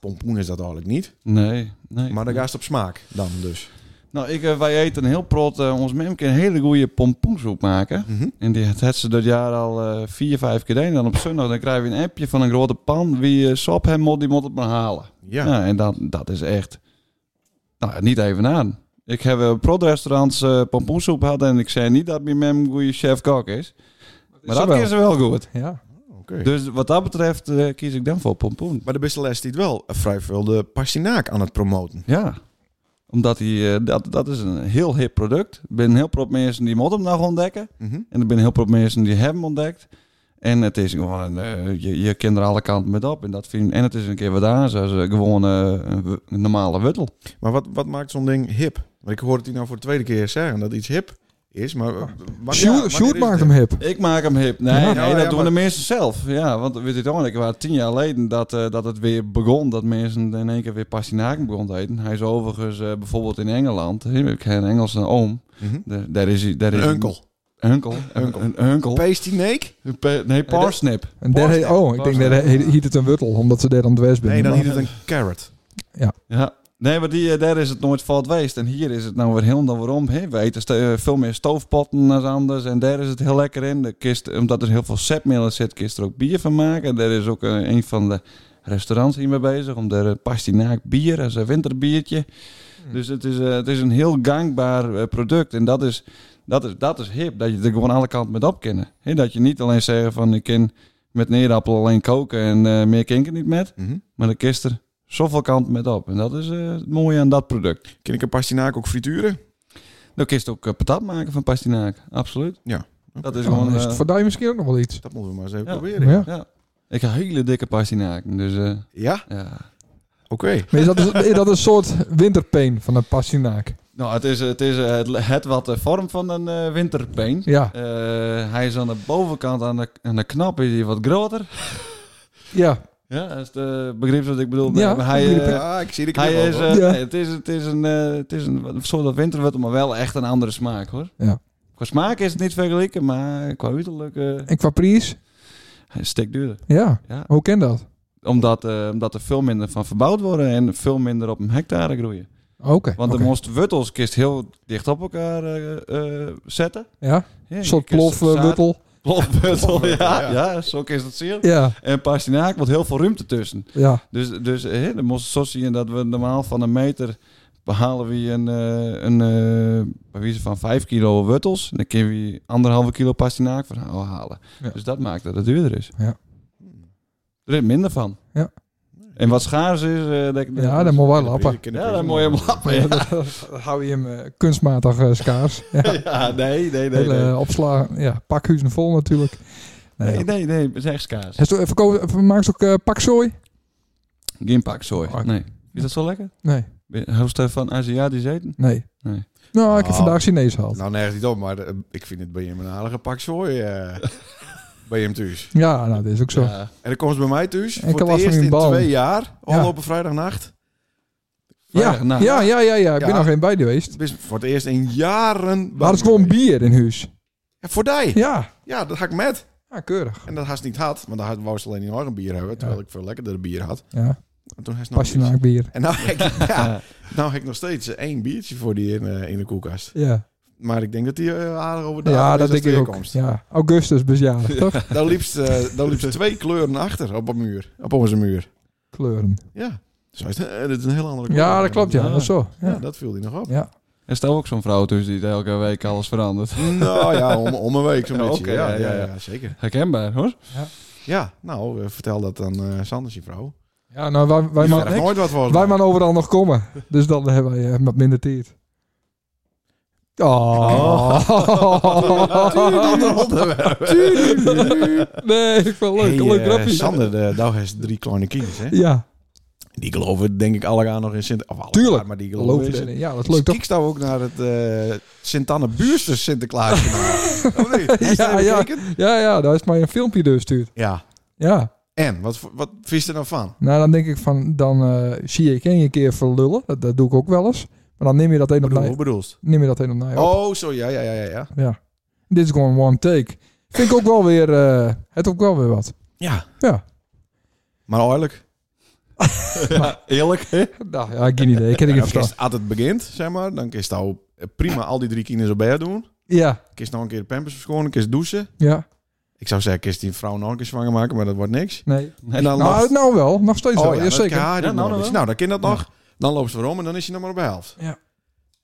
Speaker 1: Pompoen is dat eigenlijk niet.
Speaker 4: Nee, nee.
Speaker 1: Maar dan gaat het op smaak dan dus.
Speaker 4: Nou, ik, eh, wij eten heel prot. eh, ons memke een hele goede pompoensoep maken.
Speaker 1: Mhm.
Speaker 4: En die had ze dat jaar al eh, vier, vijf keer deed. En dan op zondag dan krijgen we een appje van een grote pan. Wie eh sop hem moet, die moet het maar halen.
Speaker 1: Ja.
Speaker 4: Nou, en dat, dat is echt... Nou, ja, niet even aan. Ik heb een protrestaurants eh pompoensoep gehad. En ik zei niet dat mijn mem een goede chef-kok is. Maar
Speaker 2: ze
Speaker 4: dat
Speaker 2: wel.
Speaker 4: is ze wel goed.
Speaker 2: Ja.
Speaker 1: Oké.
Speaker 4: Dus wat dat betreft eh, kies ik dan voor pompoen.
Speaker 1: Maar de beste les die het wel eh, vrij veel de pastinaak aan het promoten.
Speaker 4: Ja. Omdat die, eh, dat, dat is een heel hip product. Er zijn heel veel mensen die moeten hem nog ontdekken.
Speaker 1: Mhm.
Speaker 4: En er zijn heel veel mensen die hebben hem ontdekt. En het is gewoon, eh, je, je kent er alle kanten met op. En, dat vind, en het is een keer wat aan, zoals eh, gewoon eh, een, w- een normale wuttel.
Speaker 1: Maar wat, wat maakt zo'n ding hip? Want ik hoor het hier nou voor de tweede keer zeggen dat iets hip is. Maar, eh, wanneer- wanneer
Speaker 2: Ah. Sjoerd
Speaker 1: is
Speaker 2: Sjoerd
Speaker 1: het
Speaker 2: maakt
Speaker 1: hip?
Speaker 2: hem hip.
Speaker 4: Ik maak hem hip. Nee,
Speaker 2: Ja.
Speaker 4: nee
Speaker 1: Ja,
Speaker 4: dat
Speaker 1: ja,
Speaker 4: doen
Speaker 1: maar-
Speaker 4: de mensen zelf. Ja, want weet je toch, ik was tien jaar geleden dat, eh, dat het weer begon. Dat mensen in één keer weer pastinaken begonnen te eten. Hij is overigens eh, bijvoorbeeld in Engeland. Ik heb een Engelse oom.
Speaker 1: Mhm.
Speaker 4: Daar- Daar is hij. daar is
Speaker 1: Een
Speaker 4: hij-
Speaker 1: unkel.
Speaker 4: Unkel. Een, een unkel.
Speaker 1: Pastinaak?
Speaker 4: Een pe- nee, parsnip.
Speaker 2: En daar
Speaker 1: Borst,
Speaker 2: heet- oh, ik denk
Speaker 4: borst,
Speaker 2: dat
Speaker 4: ja.
Speaker 2: hij hiet het een wuttel, omdat ze daar aan het west zijn.
Speaker 1: Nee, dan is het een carrot.
Speaker 4: Ja. Nee, maar die, eh, daar is het nooit fout geweest. En hier is het nou weer helemaal waarom. Hè? We eten ste- eh, veel meer stoofpotten dan anders. En daar is het heel lekker in. De kist, omdat er heel veel zetmeel in zit, kist er ook bier van maken. Daar is ook eh, een van de restaurants hiermee bezig. Om daar eh, pastinaak bier, dat is een winterbiertje. Dus het is, eh, het is een heel gangbaar eh, product. En dat is, dat, is, dat is hip, dat je er gewoon alle kanten met op kan. Hè? Dat je niet alleen zeggen van ik kan met neerappel alleen koken en eh, meer kan ik er niet met.
Speaker 1: Mhm.
Speaker 4: Maar de kist er zoveel kant met op. En dat is eh, het mooie aan dat product.
Speaker 1: Kan ik een pastinaak ook frituren?
Speaker 4: Dan kist ook eh, patat maken van pastinaak. Absoluut.
Speaker 1: Ja.
Speaker 4: Dat is
Speaker 2: Dus dan
Speaker 4: gewoon...
Speaker 2: is het
Speaker 4: eh,
Speaker 2: voor jou misschien ook nog wel iets.
Speaker 1: Dat moeten we maar eens even
Speaker 4: Ja.
Speaker 1: proberen.
Speaker 2: Ja.
Speaker 4: ja. Ik heb hele dikke pastinaken. Dus eh,
Speaker 1: Ja?
Speaker 4: ja...
Speaker 1: Oké.
Speaker 2: Maar is dat, is dat een soort winterpeen van een pastinaak?
Speaker 4: Nou, het is, het, is eh, het, het wat de vorm van een eh, winterpeen.
Speaker 2: Ja.
Speaker 4: Eh, hij is aan de bovenkant, aan de, aan de knap is hij wat groter.
Speaker 2: Ja.
Speaker 4: Ja, dat is het begrip wat ik bedoel.
Speaker 2: Ja,
Speaker 4: Maar hij,
Speaker 2: begrijp ik.
Speaker 4: eh,
Speaker 1: Ah, ik zie de knip
Speaker 4: hij
Speaker 1: al,
Speaker 4: is,
Speaker 1: hoor.
Speaker 4: eh,
Speaker 2: Ja.
Speaker 4: nee, het, is, het is een, eh, het is een, een soort van winterwet, maar wel echt een andere smaak hoor.
Speaker 2: Ja.
Speaker 4: Qua smaak is het niet vergeleken, maar qua uiterlijk eh,
Speaker 2: En qua prijs?
Speaker 4: hij is stik duurder.
Speaker 2: Ja.
Speaker 4: Ja.
Speaker 2: Hoe ken dat?
Speaker 4: Omdat, eh, omdat er veel minder van verbouwd worden en veel minder op een hectare groeien.
Speaker 2: Oké.
Speaker 4: Want
Speaker 2: oké.
Speaker 4: de most wuttels kist heel dicht op elkaar eh, eh, zetten.
Speaker 2: Ja.
Speaker 4: Ja,
Speaker 2: Een
Speaker 4: je
Speaker 2: soort
Speaker 4: kist
Speaker 2: plof, eh,
Speaker 4: zaad-
Speaker 2: wuttel.
Speaker 4: Plofwuttel, ja,
Speaker 1: ja.
Speaker 4: ja. zo is dat zeer.
Speaker 2: Ja.
Speaker 4: En pastinaak wordt heel veel ruimte tussen.
Speaker 2: Ja.
Speaker 4: Dus, dus hè, dan moest je zo zien dat we normaal van een meter behalen we een, eh, een eh, bij wijze van 5 kilo wuttels. Dan kun je anderhalve kilo pastinaak van halen.
Speaker 2: Ja.
Speaker 4: Dus dat maakt dat het duurder is.
Speaker 2: Ja.
Speaker 4: Er is minder van.
Speaker 2: Ja.
Speaker 4: En wat schaars is... eh, dat,
Speaker 2: Ja, dan moet wel lappen.
Speaker 1: Ik ken de
Speaker 4: ja,
Speaker 1: pers-
Speaker 4: dan moet je hem lappen. Ja,
Speaker 2: Dan hou je hem eh, kunstmatig eh, schaars. Ja.
Speaker 4: Ja, nee, nee, nee.
Speaker 2: Hele
Speaker 4: Nee,
Speaker 2: eh, opsla... Ja, pakhuizen vol natuurlijk. Nee.
Speaker 4: nee, nee, nee het is echt schaars.
Speaker 2: Hij is- verkoop- Maak ze ook eh, pakzooi?
Speaker 4: Geen pakzooi.
Speaker 2: Oh, ik-
Speaker 4: Nee. Is dat zo lekker?
Speaker 2: Nee.
Speaker 4: Hoest van Aziatisch eten?
Speaker 2: Nee.
Speaker 4: Nee.
Speaker 2: Nou, ik heb
Speaker 1: Oh.
Speaker 2: vandaag Chinees gehad.
Speaker 1: Nou, nergens niet op, maar eh, ik vind het bij hem een aardige pak zooi. eh, bij hem thuis.
Speaker 2: Ja, nou, dat is ook zo.
Speaker 4: Ja.
Speaker 1: En dan komt ze bij mij thuis.
Speaker 2: En ik
Speaker 1: voor
Speaker 2: last
Speaker 1: het
Speaker 2: van
Speaker 1: eerst
Speaker 2: die
Speaker 1: in
Speaker 2: bal.
Speaker 1: twee jaar. Al
Speaker 2: Ja.
Speaker 1: op een vrijdagnacht.
Speaker 2: Ja,
Speaker 4: Vrijdagnacht.
Speaker 2: ja, ja, ja, ja. Ik ben
Speaker 1: Ja.
Speaker 2: nog geen bij geweest.
Speaker 1: Het is voor het eerst in jaren.
Speaker 2: Maar het is gewoon bier in huis.
Speaker 1: Ja, voor die. Ja.
Speaker 2: Ja.
Speaker 1: dat had ik met.
Speaker 2: Ja, keurig.
Speaker 1: En dat had ze niet had. Want dan had- wou ze alleen nog een bier hebben. Terwijl ik veel lekkerder bier had.
Speaker 4: Nou,
Speaker 2: Ja,
Speaker 1: En toen had ze nog iets.
Speaker 2: pastinaak bier.
Speaker 1: En nou heb ik, ja, nou heb ik nog steeds eh, één biertje voor die in, eh, in de koelkast.
Speaker 2: Ja,
Speaker 1: Maar ik denk dat die eh, aardig over de
Speaker 2: ja
Speaker 1: avond
Speaker 2: dat
Speaker 1: is als
Speaker 2: denk ik
Speaker 1: het
Speaker 2: ook.
Speaker 1: weerkomst.
Speaker 2: Ja, augustus besjarig, toch?
Speaker 1: Daar liep ze, eh, daar liep ze twee kleuren achter op, een muur, op onze muur.
Speaker 2: Kleuren.
Speaker 1: Ja. Dus hij zei, eh, dit is een heel andere kleur.
Speaker 2: Ja, dat klopt, ja.
Speaker 4: Ja.
Speaker 2: Dat is zo.
Speaker 1: Ja,
Speaker 2: Ja.
Speaker 1: dat viel hij nog op.
Speaker 2: Ja.
Speaker 4: Er staat ook zo'n vrouw tussen die elke week alles verandert.
Speaker 1: Nou ja, om, om een week zo'n
Speaker 4: Ja,
Speaker 1: beetje.
Speaker 4: oké,
Speaker 1: ja,
Speaker 4: ja,
Speaker 1: ja,
Speaker 4: ja.
Speaker 1: ja, zeker.
Speaker 4: Herkenbaar hoor.
Speaker 1: Ja, nou, eh, vertel dat aan eh Sanders, je vrouw.
Speaker 2: Ja, nou, wij, wij,
Speaker 1: Die
Speaker 2: man,
Speaker 1: vraagt nooit wat voor.
Speaker 2: wij man overal nog komen. Dus dan hebben wij eh, wat minder tijd. Oh.
Speaker 1: Oh.
Speaker 2: nee, ik vond het leuk. leuk
Speaker 1: Hey, eh,
Speaker 2: grapje.
Speaker 1: Sander, de, nou heeft drie kleine kindjes, hè?
Speaker 2: Ja,
Speaker 1: Die geloven denk ik allemaal nog in Sint... Of alle
Speaker 2: Tuurlijk,
Speaker 1: maar die geloven
Speaker 2: geloof
Speaker 1: in
Speaker 2: ik
Speaker 1: Sint...
Speaker 2: erin. Ja, dat is leuk toch?
Speaker 1: Ik sta ook naar het eh Sint-Anne Buurster Sinterklaas kanaal. Of niet? Oh, Heb je
Speaker 2: Ja,
Speaker 1: dat
Speaker 2: ja.
Speaker 1: bekeken?
Speaker 2: Ja, ja, daar is mij een filmpje doorgestuurd.
Speaker 1: ja.
Speaker 2: Ja.
Speaker 1: En, wat, voor- wat vind je er nou van?
Speaker 2: Nou, dan denk ik van, dan eh, zie ik je een keer verlullen. Dat, dat doe ik ook wel eens. Maar dan neem je dat een op
Speaker 1: Bedoel,
Speaker 2: mij.
Speaker 1: hoe bedoelst?
Speaker 2: Neem je dat een op mij. op.
Speaker 1: Oh, zo, ja, ja, ja, ja, ja.
Speaker 2: Ja. Dit is gewoon een one take. Vind ik ook wel weer, eh, het ook wel weer wat.
Speaker 1: Ja.
Speaker 2: Ja.
Speaker 1: Maar eerlijk.
Speaker 4: Eerlijk, hè?
Speaker 2: Nou ja, geen idee. Ik heb het
Speaker 1: Ja,
Speaker 2: niet
Speaker 1: nou, kist,
Speaker 2: verstaan.
Speaker 1: als het begint, zeg maar, dan kist nou prima al die drie kinderen op bed doen.
Speaker 2: Ja,
Speaker 1: Kist nou een keer de pampers verschonen, kist douchen.
Speaker 2: ja.
Speaker 1: Ik zou zeggen, kist die vrouw nog een keer zwanger maken, maar dat wordt niks.
Speaker 2: Nee.
Speaker 1: En dan
Speaker 2: Nou,
Speaker 1: loopt-
Speaker 2: het nou wel. Nog steeds wel.
Speaker 1: Oh ja,
Speaker 2: Ja,
Speaker 1: dat
Speaker 2: zeker.
Speaker 1: kan haar
Speaker 4: Ja,
Speaker 1: doen
Speaker 4: nou,
Speaker 1: nog
Speaker 4: nou
Speaker 1: iets.
Speaker 4: wel.
Speaker 1: nou, dan kan dat nog. Dan loopt ze erom en dan is je nog maar op de helft.
Speaker 2: Ja.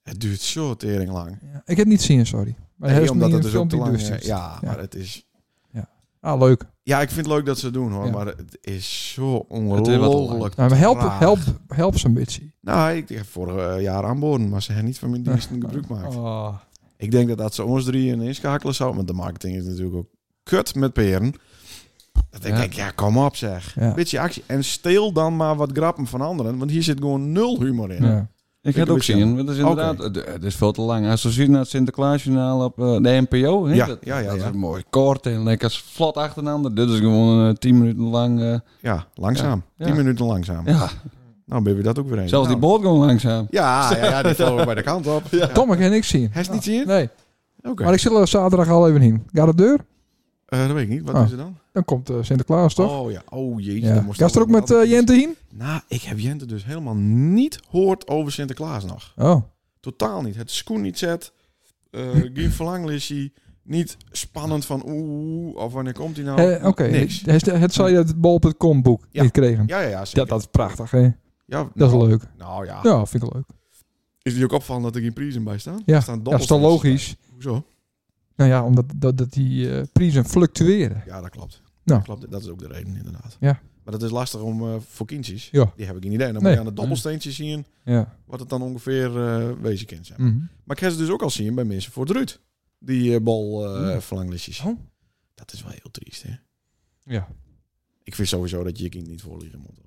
Speaker 1: Het duurt zo tering lang.
Speaker 2: Ja, ik heb het niet zien, sorry. Maar
Speaker 1: Nee,
Speaker 2: hij heeft
Speaker 1: omdat
Speaker 2: niet
Speaker 1: het
Speaker 2: een
Speaker 1: dus ook te
Speaker 2: filmpje
Speaker 1: lang is.
Speaker 2: doorgestuurd.
Speaker 1: Ja,
Speaker 2: Ja.
Speaker 1: maar het is...
Speaker 2: Ah, leuk.
Speaker 1: Ja, ik vind het leuk dat ze het doen, hoor.
Speaker 2: Ja.
Speaker 1: Maar het is zo
Speaker 4: wat te lang.
Speaker 1: ongelooflijk
Speaker 2: Nou, maar help,
Speaker 1: traag.
Speaker 2: help, help ze een beetje.
Speaker 1: Nou, ik ik heb vorig eh, jaar aanboden, maar ze hebben niet van mijn diensten gebruik gemaakt.
Speaker 2: Oh.
Speaker 1: Ik denk dat dat ze ons drieën inschakelen zou. Want de marketing is natuurlijk ook kut met peren. Dat ik
Speaker 4: Ja.
Speaker 1: denk, ja, kom op zeg.
Speaker 2: Ja.
Speaker 1: Beetje actie. En steel dan maar wat grappen van anderen. Want hier zit gewoon nul humor in.
Speaker 2: Ja.
Speaker 4: Ik had
Speaker 1: een
Speaker 4: ook
Speaker 1: beetje
Speaker 4: zien. Het is inderdaad, het- het is veel te lang. Als je ziet naar het Sinterklaasjournaal op eh, de NPO, hè,
Speaker 1: Ja,
Speaker 4: dat,
Speaker 1: ja, ja,
Speaker 4: dat
Speaker 1: ja.
Speaker 4: is mooi kort en lekker vlot achternander. Dit is gewoon eh, 10 minuten lang. eh,
Speaker 1: Ja, langzaam.
Speaker 4: Ja.
Speaker 1: Tien minuten langzaam.
Speaker 4: ja,
Speaker 1: Nou, ben je dat ook weer eens.
Speaker 4: zelfs die
Speaker 1: Nou,
Speaker 4: boot gewoon langzaam.
Speaker 1: Ja, ja, ja, die vlogen bij de kant op. Ja.
Speaker 2: Tom, ik heb niks zien.
Speaker 1: Hij is niet zien?
Speaker 2: Nee.
Speaker 1: Ah. Oké.
Speaker 2: Maar ik zit er zaterdag al even heen. Gaat de deur?
Speaker 1: Eh, dat weet ik niet. Wat
Speaker 2: Ah.
Speaker 1: is er dan?
Speaker 2: Dan komt eh, Sinterklaas, toch?
Speaker 1: Oh ja. Oh jeetje.
Speaker 2: ja.
Speaker 1: dan moest
Speaker 2: Gaat er ook met eh,
Speaker 1: altijd iets-
Speaker 2: Jente heen?
Speaker 1: Nou, ik heb Jente dus helemaal niet hoort over Sinterklaas nog.
Speaker 2: Oh.
Speaker 1: Totaal niet. Het schoen niet zet. eh geen verlanglissie. Niet spannend van oeh, of wanneer komt hij nou?
Speaker 2: Eh, Oké.
Speaker 1: Niks.
Speaker 2: Het, het zei dat het bol.com boek
Speaker 1: Ja.
Speaker 2: niet kregen.
Speaker 1: Ja, ja, ja. Zeker.
Speaker 2: Ja, dat is prachtig, hè?
Speaker 1: ja,
Speaker 2: Dat is
Speaker 1: nou,
Speaker 2: leuk.
Speaker 1: Nou ja.
Speaker 2: Ja, vind ik leuk.
Speaker 1: Is het ook opvallend dat er geen prijzen bij staan?
Speaker 2: Ja,
Speaker 1: Er staan
Speaker 2: ja, dat is dan
Speaker 1: dobbelstenen.
Speaker 2: logisch.
Speaker 1: Hoezo?
Speaker 2: Nou ja, omdat dat, dat die eh, prijzen fluctueren.
Speaker 1: Ja, dat klopt.
Speaker 2: Nou.
Speaker 1: Dat, klopt. dat is ook de reden, inderdaad.
Speaker 2: Ja.
Speaker 1: Maar dat is lastig om eh, voor kindjes.
Speaker 2: Ja.
Speaker 1: Die heb ik geen idee. Dan
Speaker 2: Nee.
Speaker 1: moet je aan het dobbelsteentje zien
Speaker 2: Ja.
Speaker 1: wat het dan ongeveer eh wezen kind zijn.
Speaker 2: Mhm.
Speaker 1: Maar ik heb ze dus ook al zien bij mensen voor het Ruud. Die eh bal eh
Speaker 2: Ja.
Speaker 1: verlanglistjes.
Speaker 2: Oh.
Speaker 1: Dat is wel heel triest, hè?
Speaker 2: Ja.
Speaker 1: Ik vind sowieso dat je je kind niet voorliegen moet.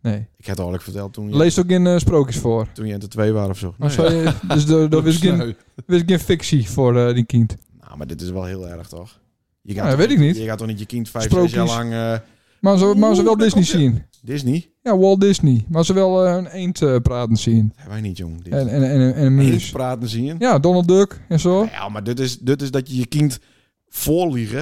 Speaker 2: Nee.
Speaker 1: Ik heb het al eerlijk verteld toen je,
Speaker 2: Lees ook in eh, sprookjes voor.
Speaker 1: toen je in de twee waren of zo.
Speaker 2: Dan zou je- dus er- er is geen, er is geen fictie voor eh, die kind.
Speaker 1: Nou, maar dit is wel heel erg, toch? Je
Speaker 2: Ja,
Speaker 1: toch
Speaker 2: Nou, weet
Speaker 1: niet-
Speaker 2: ik niet.
Speaker 1: Je gaat toch niet je kind vijf, zes
Speaker 2: Sprookjes.
Speaker 1: jaar lang eh,
Speaker 2: Maar ze, maar ze wel
Speaker 1: Oeh, daar
Speaker 2: Disney
Speaker 1: komt ie.
Speaker 2: zien.
Speaker 1: Disney?
Speaker 2: Ja, Walt Disney. Maar ze wel eh, een eend eh, praten zien.
Speaker 1: Dat hebben wij niet, jong. Dit.
Speaker 2: En, en, en, en een
Speaker 1: Eens
Speaker 2: muis.
Speaker 1: praten zien. Ja.
Speaker 2: Ja, Donald Duck en zo.
Speaker 1: maar dit is, dit is dat je je kind voorliegen.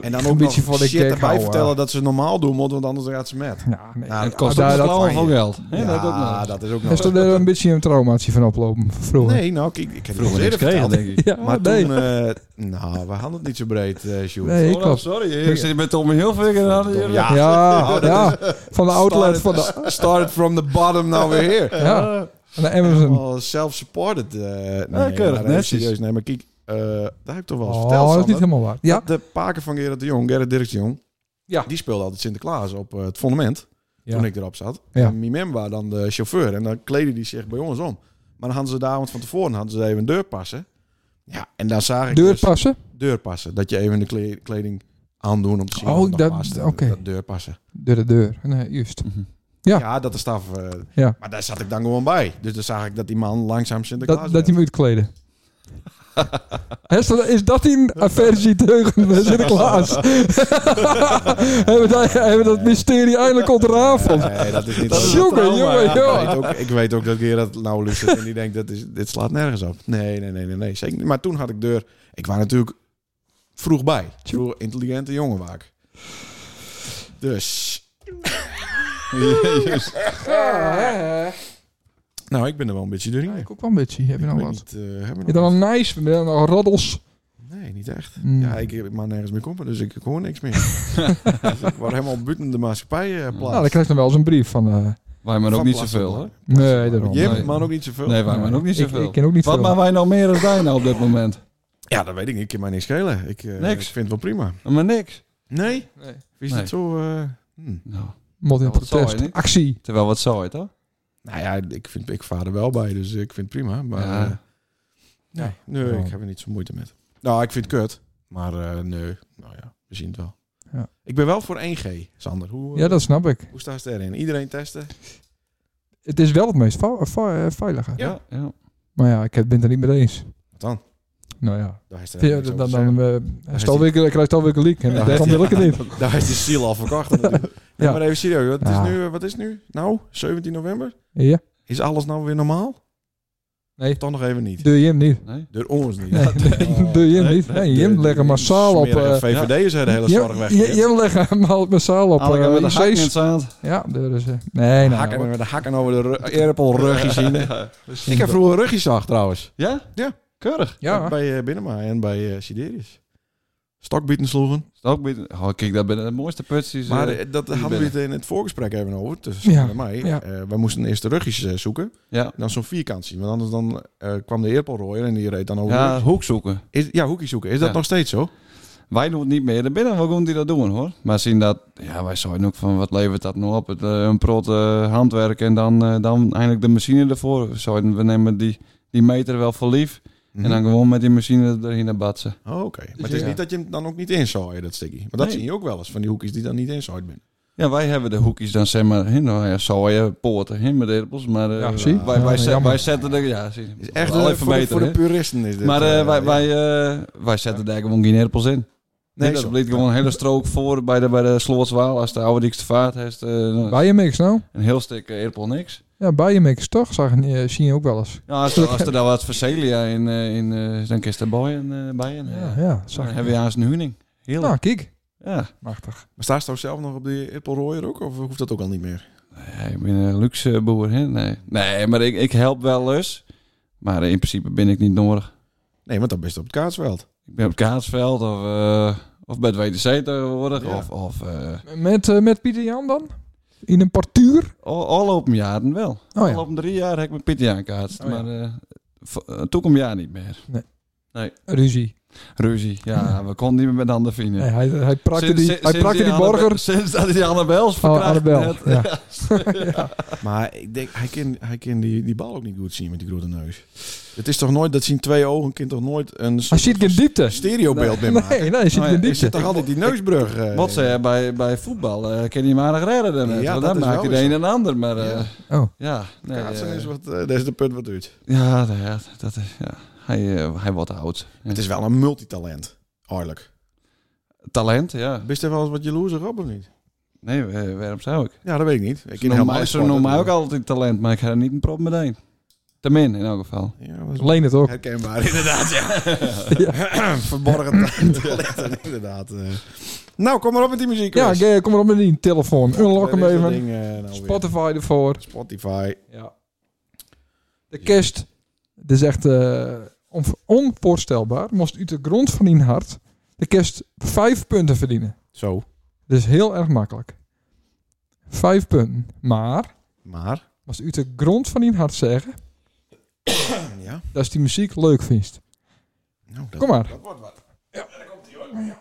Speaker 1: en dan
Speaker 2: een
Speaker 1: ook nog
Speaker 2: beetje voor de
Speaker 1: shit
Speaker 2: gek
Speaker 1: erbij
Speaker 2: houden.
Speaker 1: vertellen dat ze normaal doen, want want anders gaat ze met.
Speaker 2: Ja, nee.
Speaker 1: Nou,
Speaker 4: Het kost
Speaker 2: Ja,
Speaker 4: ook
Speaker 2: dat-
Speaker 4: klauwen van
Speaker 1: Ja,
Speaker 4: geld. hè,
Speaker 1: Ja,
Speaker 4: dat ook nog.
Speaker 1: dat is ook
Speaker 2: Heeft
Speaker 1: nog.
Speaker 2: er een beetje een traumatie van oplopen van vroeger?
Speaker 1: Nee, nou, ik, ik heb het al
Speaker 4: Vroeger niks
Speaker 1: eerder
Speaker 4: kregen,
Speaker 1: verteld.
Speaker 4: denk ik.
Speaker 2: Ja,
Speaker 1: Maar
Speaker 2: nee.
Speaker 1: toen... eh, nou, we hadden het niet zo breed, eh Sjoerd.
Speaker 2: Nee,
Speaker 4: Oh,
Speaker 2: ik
Speaker 4: nou,
Speaker 2: klopt.
Speaker 4: sorry. Ik zit met Tom Hilfiger aan. hier.
Speaker 1: Ja.
Speaker 2: Ja, ja, van de outlet van de,
Speaker 1: Ah. Started from the bottom, nou now we're here.
Speaker 2: ja, van de Amazon.
Speaker 1: Wel self-supported. eh nee,
Speaker 4: keurig,
Speaker 1: maar even
Speaker 4: netjes.
Speaker 1: serieus. Nee, maar kijk, eh daar heb ik toch wel eens verteld.
Speaker 2: Oh, dat is niet
Speaker 1: Sander.
Speaker 2: helemaal waar. Ja,
Speaker 1: De paken van Gerrit de Jong, Gerrit Dirks de Jong,
Speaker 2: Ja.
Speaker 1: die speelde altijd Sinterklaas op eh, het fondament.
Speaker 2: Ja.
Speaker 1: Toen ik erop zat.
Speaker 2: Ja.
Speaker 1: En Mimem was dan de chauffeur. En dan kleden die zich bij ons om. Maar dan hadden ze de avond van tevoren hadden ze even een deur passen. Ja, en dan zag ik
Speaker 2: deur
Speaker 1: dus
Speaker 2: passen.
Speaker 1: deur passen. Dat je even de kle- kleding aandoen om te zien
Speaker 2: Oh,
Speaker 1: of het nog
Speaker 2: dat-
Speaker 1: past.
Speaker 2: oké.
Speaker 1: Dat deur passen.
Speaker 2: Deur de deur. Nee, juist.
Speaker 4: Mhm.
Speaker 1: Ja,
Speaker 2: Ja.
Speaker 1: dat is staf. eh,
Speaker 2: Ja.
Speaker 1: Maar daar zat ik dan gewoon bij. Dus dan zag ik dat die man langzaam Sinterklaas
Speaker 2: Dat, dat hij moet kleden. Hester, is dat een aversie tegen Sinterklaas? hebben, we dat, hebben we dat mysterie eindelijk ontrafeld?
Speaker 1: Nee, dat is niet
Speaker 4: Dat
Speaker 1: zo.
Speaker 4: is het
Speaker 2: Jongen,
Speaker 4: trauma.
Speaker 2: jongen,
Speaker 1: Ik
Speaker 2: jongen.
Speaker 1: weet, ook, ik weet ook dat Gerard het nou luistert en die denkt, dat is, dit slaat nergens op. Nee, nee, nee, nee, nee, zeker niet. Maar toen had ik deur... Ik was natuurlijk vroeg bij. Vroeg intelligente jongen was ik. Dus...
Speaker 2: Ah,
Speaker 1: Nou, ik ben er wel een beetje doorheen.
Speaker 2: Ik ook wel een beetje. Heb
Speaker 1: Ik
Speaker 2: je nou
Speaker 1: weet
Speaker 2: wat?
Speaker 1: niet, eh, hebben we
Speaker 2: Je
Speaker 1: nog
Speaker 2: dan een nice, ben je dan nog roddels?
Speaker 1: wat? Nee, niet echt.
Speaker 2: Mm.
Speaker 1: Ja, ik, ik mag nergens meer komen, dus ik hoor niks meer. dus ik word helemaal buiten de maatschappij eh plaats.
Speaker 2: Nou, dan krijg je dan wel eens een brief van... eh,
Speaker 4: Wij maar ook
Speaker 1: Van
Speaker 4: niet
Speaker 1: plaats
Speaker 4: zoveel,
Speaker 1: op
Speaker 4: hè?
Speaker 2: nee, daarom.
Speaker 1: Jim,
Speaker 4: Nee.
Speaker 1: maar ook niet zoveel.
Speaker 4: Nee, wij maar ook niet
Speaker 2: Ik-
Speaker 4: zoveel.
Speaker 2: Ik, ken ook niet
Speaker 4: Wat
Speaker 2: veel.
Speaker 4: maar wij nou meer dan wij nou op dit moment?
Speaker 1: Ja, dat weet ik niet. Ik kan mij niks schelen. Ik, eh,
Speaker 4: Niks.
Speaker 1: ik vind het wel prima.
Speaker 4: Maar niks.
Speaker 1: Nee?
Speaker 2: Nee.
Speaker 1: Is
Speaker 4: Nee.
Speaker 1: dat zo... eh, hm.
Speaker 4: Nou,
Speaker 2: Moet in
Speaker 4: Ja, wat zou hij
Speaker 2: protest.
Speaker 4: niet?
Speaker 2: Actie.
Speaker 4: terwijl wat zou het, hoor?
Speaker 1: Nou ja, ik, vind, ik vaar er wel bij, dus ik vind het prima. Maar
Speaker 4: Ja.
Speaker 1: eh, nee, nee
Speaker 2: Ja.
Speaker 1: ik heb er niet zo moeite met. Nou, ik vind het kut. Maar eh, nee, nou ja, we zien het wel.
Speaker 2: Ja.
Speaker 1: Ik ben wel voor 1G, Sander. Hoe, eh,
Speaker 2: Ja, dat snap ik.
Speaker 1: hoe staat het erin? Iedereen testen?
Speaker 2: Het is wel het meest eh, veilige. veiliger.
Speaker 1: Ja.
Speaker 4: Ja, ja.
Speaker 2: Maar ja, ik ben het er niet mee eens.
Speaker 1: Wat dan?
Speaker 2: Nou ja,
Speaker 1: Daar is er
Speaker 2: ja
Speaker 1: niks
Speaker 2: dan,
Speaker 1: over
Speaker 2: dan,
Speaker 1: te zeggen.
Speaker 2: dan, eh,
Speaker 1: is
Speaker 2: stel
Speaker 1: die-
Speaker 2: ik krijgt alweer een leak. En
Speaker 1: Ja.
Speaker 2: daarom wil ik het niet.
Speaker 1: Daar is de ziel al verkocht. natuurlijk. Nee,
Speaker 2: Ja.
Speaker 1: Maar even serieus, wat,
Speaker 2: Ja.
Speaker 1: is nu, eh, wat is nu? Nou, 17 november?
Speaker 2: Ja,
Speaker 1: Is alles nou weer normaal?
Speaker 2: Nee.
Speaker 1: Toch nog even niet.
Speaker 2: doe je hem niet.
Speaker 4: Nee.
Speaker 1: Door ons niet.
Speaker 2: Nee, doe je hem niet. Nee, je hem leggen massaal op... eh,
Speaker 1: VVD'ers zijn de hele
Speaker 2: je
Speaker 1: zorg
Speaker 2: hem-
Speaker 1: weg.
Speaker 2: je- je hem leggen ma- massaal op...
Speaker 4: Allemaal met
Speaker 2: eh,
Speaker 4: de hak in
Speaker 2: IC's.
Speaker 4: het zand.
Speaker 2: Ja, daar is... eh, Nee, nou...
Speaker 1: hakken, met de hakken over de ru- eerpelrugjes zien.
Speaker 4: dus-
Speaker 1: Ik heb vroeger rugjes zag trouwens.
Speaker 4: Ja?
Speaker 1: Ja.
Speaker 4: Keurig.
Speaker 2: Ja,
Speaker 1: Bij eh, Binnenma en bij eh Siderius. Stokbieten sloegen.
Speaker 4: Ook bij- Oh, kijk, dat ben de mooiste putsies.
Speaker 1: Maar
Speaker 4: eh,
Speaker 1: eh, dat
Speaker 4: die
Speaker 1: hadden we het
Speaker 4: binnen.
Speaker 1: in het voorgesprek even over. Tussen
Speaker 2: Ja.
Speaker 1: Sander en mij.
Speaker 2: Ja.
Speaker 1: Eh, we moesten eerst de rugjes eh, zoeken.
Speaker 4: ja.
Speaker 1: Dan zo'n vierkant zien. Want anders dan, eh, kwam de eerpelrooier en die reed dan over. de
Speaker 4: ja,
Speaker 1: rugjes.
Speaker 4: hoek zoeken.
Speaker 1: Is, ja hoekjes zoeken. Is dat
Speaker 4: Ja.
Speaker 1: nog steeds zo?
Speaker 4: Wij doen het niet meer. Dan binnen, waarom die dat doen hoor. Maar zien dat, ja, wij zouden ook van wat levert dat nou op? Het, eh, een prot eh, handwerk en dan, eh, dan eindelijk de machine ervoor. Zouden we nemen die, die meter wel voor lief. En dan gewoon met die machine erin naar batsen.
Speaker 1: Oh, Oké, maar het is
Speaker 4: ja.
Speaker 1: niet dat je hem dan ook niet inzooien, dat stikkie. Maar dat
Speaker 4: Nee.
Speaker 1: zie je ook wel eens, van die hoekjes die dan niet inzooid zijn.
Speaker 4: Ja, wij hebben de hoekjes dan zeg maar, hè, nou ja, zooien, poorten, hè, met erpels. Maar eh,
Speaker 2: Ja, zie.
Speaker 4: wij,
Speaker 2: Ja,
Speaker 4: wij, zet-
Speaker 2: jammer.
Speaker 4: wij zetten de, ja, zie,
Speaker 1: is echt
Speaker 4: wel
Speaker 1: eh,
Speaker 4: even
Speaker 1: voor, de,
Speaker 4: beter,
Speaker 1: voor de
Speaker 4: hè.
Speaker 1: puristen is dit.
Speaker 4: Maar eh,
Speaker 1: eh,
Speaker 4: wij, wij, eh, wij zetten daar gewoon geen erpels in.
Speaker 1: Nee,
Speaker 4: Nee,
Speaker 1: zo.
Speaker 4: dat bleek gewoon een hele strook voor bij de, bij de Slootswaal. Als de oude dikste vaart heeft, eh,
Speaker 2: bij je mix nou.
Speaker 4: een heel stuk eh, erpel niks.
Speaker 2: Ja, bij je mix toch? Zag, eh, zie je ook wel eens.
Speaker 4: Ja, als, als er daar wat Vercelia in, eh, in eh, dan kist er boyen, eh, bij en
Speaker 2: Ja,
Speaker 4: ja.
Speaker 2: ja.
Speaker 4: Dan
Speaker 2: Zag ik.
Speaker 4: hebben we haast een huning. Heel.
Speaker 2: Nou, kijk.
Speaker 4: Ja.
Speaker 2: Machtig.
Speaker 1: Maar staat ze zelf nog op die Appelrooier ook, of hoeft dat ook al niet meer?
Speaker 4: Ja, ik ben een luxe boer, hè? Nee. Nee, maar ik, ik help wel eens. Maar eh, in principe ben ik niet nodig.
Speaker 1: Nee, want dan best op het kaatsveld.
Speaker 4: Ik ben op het Kaatsveld of, eh, of bij het WDC tegenwoordig.
Speaker 1: Ja.
Speaker 4: Of, of eh,
Speaker 2: Met, eh, met Pieter Jan dan? In een partuur?
Speaker 4: al, al op jaren wel.
Speaker 2: Oh
Speaker 4: Al
Speaker 2: ja.
Speaker 4: op een drie jaar heb ik mijn pitty aangekaatst.
Speaker 2: Oh ja.
Speaker 4: maar eh, v- eh, toekom jaar niet meer.
Speaker 2: Ruzie.
Speaker 4: Ruzie. Ja, we konden niet meer met handen vinden.
Speaker 2: Nee, hij, hij prakte
Speaker 4: Sinds-
Speaker 2: die,
Speaker 4: sinds-
Speaker 2: hij
Speaker 4: sinds
Speaker 2: prakte die
Speaker 4: Annabel-
Speaker 2: burger.
Speaker 4: Sinds dat hij Annabels verkracht
Speaker 2: Annabel,
Speaker 4: net.
Speaker 2: ja.
Speaker 1: Maar ik denk, hij kan, hij kan die, die bal ook niet goed zien met die grote neus. Het is toch nooit, dat zien twee ogen, kind toch nooit een
Speaker 2: Hij
Speaker 1: soort
Speaker 2: ziet geen diepte.
Speaker 1: stereobeeld meer maken.
Speaker 2: Nee, nee, hij ziet
Speaker 4: Oh ja,
Speaker 2: geen
Speaker 1: Er zit
Speaker 2: diepte.
Speaker 1: toch altijd die neusbrug eh,
Speaker 4: Wat ze eh, bij, bij voetbal, eh kan hij maar nog redden dan net.
Speaker 1: Ja,
Speaker 4: want
Speaker 1: dat
Speaker 4: dan
Speaker 1: is
Speaker 4: maakt
Speaker 1: wel
Speaker 4: hij de een
Speaker 1: zo.
Speaker 4: en ander. Maar eh,
Speaker 1: Ja.
Speaker 4: ja,
Speaker 2: Oh.
Speaker 4: nee,
Speaker 1: Kaatsen
Speaker 4: eh,
Speaker 1: is wat, eh, dat is de punt wat uit.
Speaker 4: ja, nou ja, dat is, ja. Hij, eh, hij wordt oud.
Speaker 1: Het is wel een multitalent, eigenlijk.
Speaker 4: Talent, ja.
Speaker 1: Bist er wel eens wat jaloezer op of niet?
Speaker 4: Nee, eh, waarom zou ik?
Speaker 1: Ja, dat weet ik niet. Ik ken
Speaker 4: Ze
Speaker 1: helemaal
Speaker 4: noemen mij-
Speaker 1: geen
Speaker 4: ze
Speaker 1: sport,
Speaker 4: noemen mij
Speaker 1: dat-
Speaker 4: ook altijd talent, maar ik ga er niet een prop meteen. Tenmin, in elk geval.
Speaker 1: Ja, dat is
Speaker 2: Leen het ook.
Speaker 1: Herkenbaar, inderdaad, ja. Verborgen talenten, inderdaad. eh. Nou, kom maar op met die muziek.
Speaker 2: Ja,
Speaker 1: Chris.
Speaker 2: ge- kom maar op met die telefoon.
Speaker 1: Waar
Speaker 2: Unlock hem
Speaker 1: is dat
Speaker 2: even.
Speaker 1: ding, eh, nou weer?
Speaker 2: Spotify ervoor.
Speaker 1: Spotify.
Speaker 2: Ja. De kerst. Het is echt eh, on- onvoorstelbaar. Moest uit de grond van die hart de kerst vijf punten verdienen.
Speaker 1: Zo.
Speaker 2: Dat is heel erg makkelijk. Vijf punten. Maar,
Speaker 1: Maar.
Speaker 2: als uit de grond van die hart zeggen,
Speaker 1: Ja.
Speaker 2: dat is die muziek leuk vindt.
Speaker 1: Nou, dat
Speaker 2: Kom maar.
Speaker 1: Dat wordt wat. Ja, daar komt hij hoor. Ja,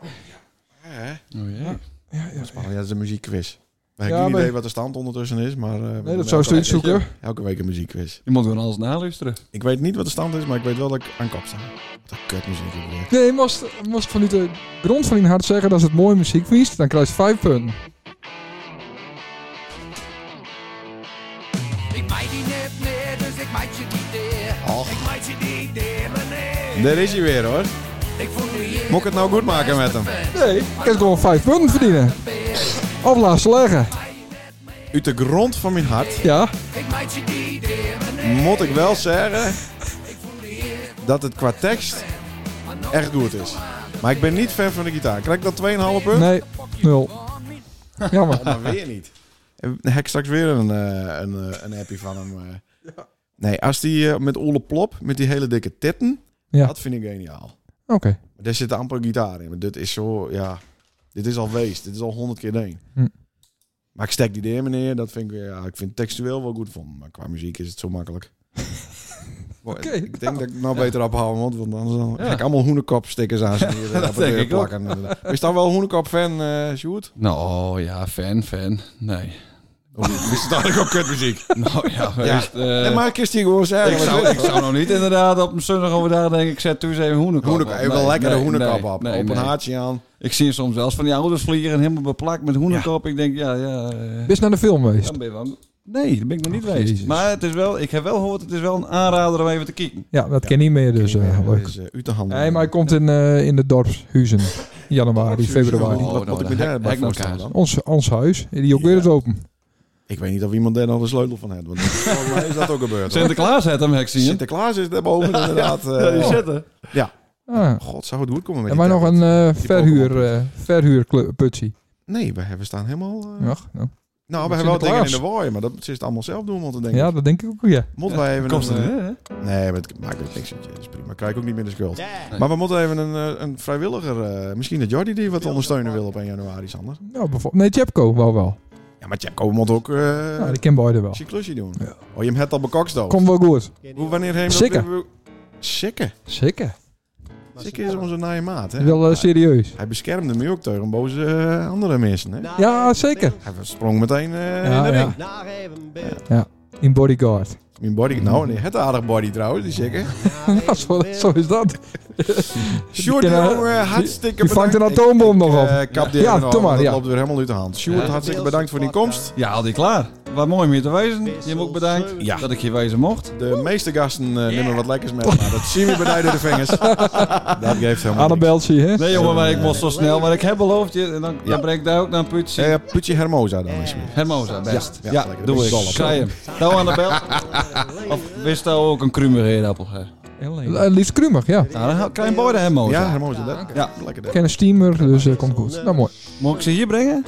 Speaker 1: hè?
Speaker 4: Oh, jee.
Speaker 2: Ja, ja, ja.
Speaker 1: Spannend, Eh, oh, ja, dat is een muziekquiz. We
Speaker 2: Ja,
Speaker 1: hebben geen
Speaker 2: maar-
Speaker 1: idee wat de stand ondertussen is, maar... eh, we
Speaker 2: Nee,
Speaker 1: doen
Speaker 2: dat zou
Speaker 1: elke
Speaker 2: je zoeken.
Speaker 1: week- Elke week een muziekquiz.
Speaker 4: Je moet gewoon alles naluisteren.
Speaker 1: Ik weet niet wat de stand is, maar ik weet wel dat ik aan kop sta. Wat een kutmuziek ook weer.
Speaker 2: Nee, je moest, moest vanuit de grond van je hart zeggen dat het mooie muziek vindt. Dan krijg je vijf punten.
Speaker 6: Ik meid die net meer, dus ik meid je niet meer.
Speaker 1: Och.
Speaker 6: Ik meid je niet meer, maar nee.
Speaker 1: Daar is hij weer hoor.
Speaker 6: Ik voel me hier
Speaker 1: Moet ik het nou goed maken met hem?
Speaker 2: Nee, je kunt gewoon vijf punten verdienen. Of laten leggen.
Speaker 1: Uit de grond van mijn hart
Speaker 2: Ja,
Speaker 6: Ik meid je niet meer, maar nee.
Speaker 1: moet ik wel zeggen
Speaker 6: Ik voel me hier
Speaker 1: dat het qua tekst echt goed is. Maar ik ben niet fan van de gitaar. Krijg ik dat 2,5 punt?
Speaker 2: nee, nul. Jammer.
Speaker 1: Maar weer niet. Dan heb ik straks weer een, eh, een, eh, een appie van hem. eh. Nee, als die eh, met Ole Plop, met die hele dikke titten,
Speaker 2: Ja.
Speaker 1: dat vind ik geniaal.
Speaker 2: Oké.
Speaker 1: Maar Daar zit amper gitaar in. Maar dit is zo, ja, dit is al wees. Dit is al honderd keer één.
Speaker 2: Hm.
Speaker 1: Maar ik stek die neer, meneer. Dat vind ik, weer- ja, ik vind het textueel wel goed van. Maar qua muziek is het zo makkelijk. Boy,
Speaker 2: Oké,
Speaker 1: ik denk dat ik nou beter ophouden moet, want anders dan
Speaker 4: Ja.
Speaker 1: ga ik allemaal hoenekopstickers aan zijn hier. eh, op de
Speaker 4: denk
Speaker 1: deur
Speaker 4: ik ook.
Speaker 1: plakken. Eh, Is dan wel een hoenekop-fan, eh Sjoerd?
Speaker 4: Nou ja, fan, fan. Nee.
Speaker 1: Is het eigenlijk ook kutmuziek?
Speaker 4: Nou ja,
Speaker 1: Ja.
Speaker 4: wees, eh,
Speaker 1: Nee, maar ik kist die gewoon zeggen.
Speaker 4: ik, zou, ik zou nog niet inderdaad op een zondag overdag denken, ik zet toen eens even hoenekap
Speaker 1: Hoenekop,
Speaker 4: op.
Speaker 1: even
Speaker 4: Oh, Nee,
Speaker 1: een lekkere
Speaker 4: nee,
Speaker 1: hoenekop
Speaker 4: nee,
Speaker 1: op.
Speaker 4: nee,
Speaker 1: op een
Speaker 4: nee.
Speaker 1: haartje aan.
Speaker 4: Ik zie soms wel eens van die ouders vliegen helemaal beplakt met hoenekop. Ik denk, ja, ja. eh,
Speaker 2: Bist naar de film geweest?
Speaker 4: dan ben je wel- Nee, dat ben ik nog niet
Speaker 2: Oh,
Speaker 4: geweest.
Speaker 2: Jezus.
Speaker 4: Maar het is wel, ik heb wel gehoord, het is wel een aanrader om even te kijken.
Speaker 2: Ja, dat ken niet meer dus. eh, leuk.
Speaker 1: Is, eh, uit de handen.
Speaker 2: Nee, maar hij komt in, eh, in de dorpshuizen. Januari, februari.
Speaker 1: Wat- wat
Speaker 4: nou,
Speaker 1: ik me
Speaker 4: de
Speaker 1: daar
Speaker 4: hek-
Speaker 1: bij
Speaker 4: hek moet
Speaker 1: voorstellen
Speaker 4: kaas.
Speaker 1: dan?
Speaker 2: Ons, ons huis, die ook weer eens open.
Speaker 1: Ik weet niet of iemand daar nog de sleutel van heeft. Want volgens mij is dat ook gebeurd. hoor.
Speaker 4: Sinterklaas had hem, heb ik zien.
Speaker 1: Sinterklaas is daarboven inderdaad. eh, oh.
Speaker 4: Ja, die zetten.
Speaker 2: Ah.
Speaker 1: God, zou het goed komen met
Speaker 2: En
Speaker 1: die
Speaker 2: wij nog
Speaker 1: tablet?
Speaker 2: een eh verhuur,
Speaker 1: Pokémon.
Speaker 2: eh verhuurputsie.
Speaker 1: Nee, we, hebben- we staan helemaal... eh,
Speaker 2: Ja, nou.
Speaker 1: Nou, we
Speaker 2: Met
Speaker 1: hebben wel dingen in
Speaker 2: Sinterklaas.
Speaker 1: de waaier, maar dat zit het allemaal zelf doen, want dan denk ik.
Speaker 2: ja, dat denk ik ook, ja.
Speaker 1: Moeten wij even
Speaker 4: Kost
Speaker 1: een,
Speaker 4: het,
Speaker 1: eh,
Speaker 4: hè?
Speaker 1: Nee, maar het maakt ook niks uit. Dat is prima. Krijg ik ook niet meer de schuld.
Speaker 3: Yeah.
Speaker 1: Maar we moeten even een, eh, een vrijwilliger... eh, misschien dat Jordi die wat ondersteunen wil op 1 januari, Sander.
Speaker 2: Nou, bijvoorbeeld- nee, Tjepko wel wel.
Speaker 1: Ja, maar Jacko moet ook eh
Speaker 2: Nou, die ken beide wel.
Speaker 1: zijn klusje doen.
Speaker 2: Ja.
Speaker 1: Oh, je hem het al bekokstoot.
Speaker 2: Komt wel goed.
Speaker 1: Hoe wanneer heen
Speaker 2: Sikke.
Speaker 1: Sikke.
Speaker 2: Zeker.
Speaker 1: Sikke is onze naaie maat, hè?
Speaker 2: Wel eh, serieus.
Speaker 1: Hij beschermde me ook tegen boze eh, andere mensen, hè?
Speaker 2: Ja, zeker.
Speaker 1: Hij sprong meteen eh, in
Speaker 2: Ja,
Speaker 1: de
Speaker 2: ja.
Speaker 1: ring.
Speaker 3: Naar even beeld.
Speaker 2: In bodyguard.
Speaker 1: Mijn body... Nou, nee, het aardig body trouwens, die Sikke.
Speaker 2: Ja, zo, zo is dat.
Speaker 1: Sjoerd,
Speaker 2: Die kennen-
Speaker 1: jongen, hartstikke
Speaker 2: die vangt
Speaker 1: bedankt.
Speaker 2: een
Speaker 1: Ik-
Speaker 2: atoombom
Speaker 1: ik,
Speaker 2: nog op.
Speaker 1: eh, kap die
Speaker 2: Ja,
Speaker 1: even nog,
Speaker 2: doe maar,
Speaker 1: want dat
Speaker 2: ja.
Speaker 1: loopt weer helemaal uit de hand. Sjoerd,
Speaker 4: Ja.
Speaker 1: hartstikke bedankt voor die komst.
Speaker 4: Ja, al die klaar. Wat mooi om je te wezen. Je
Speaker 3: Wissel
Speaker 4: hem ook bedankt
Speaker 3: zeven.
Speaker 1: Ja.
Speaker 4: dat ik je wezen mocht.
Speaker 1: De meeste gasten eh, nemen wat lekkers mee, maar dat zien we bij door de vingers. dat geeft helemaal niks.
Speaker 2: Annabeltje, hè?
Speaker 4: Nee jongen, maar ik moest zo snel. Maar ik heb beloofd je. En dan,
Speaker 1: Ja.
Speaker 4: dan breng ik daar ook naar een putje.
Speaker 1: Eh, Putje Hermosa dan is weer.
Speaker 4: Hermosa, best.
Speaker 1: Ja,
Speaker 4: Ja,
Speaker 1: lekker.
Speaker 4: doe
Speaker 1: Dol
Speaker 4: ik.
Speaker 1: op.
Speaker 4: Schrijf hem. Nou aan de bel. Of wist jou ook een krumerheerdappel? Ja,
Speaker 2: Eh, liefst krummig, ja.
Speaker 4: dan ga- krijg je een boy de Hermosa.
Speaker 1: Ja, Hermosa, dat.
Speaker 4: Ja.
Speaker 1: Lekker
Speaker 2: Ik
Speaker 1: dat.
Speaker 2: ken een steamer, dus eh, komt goed. Nou, mooi.
Speaker 4: Moet ik ze hier brengen?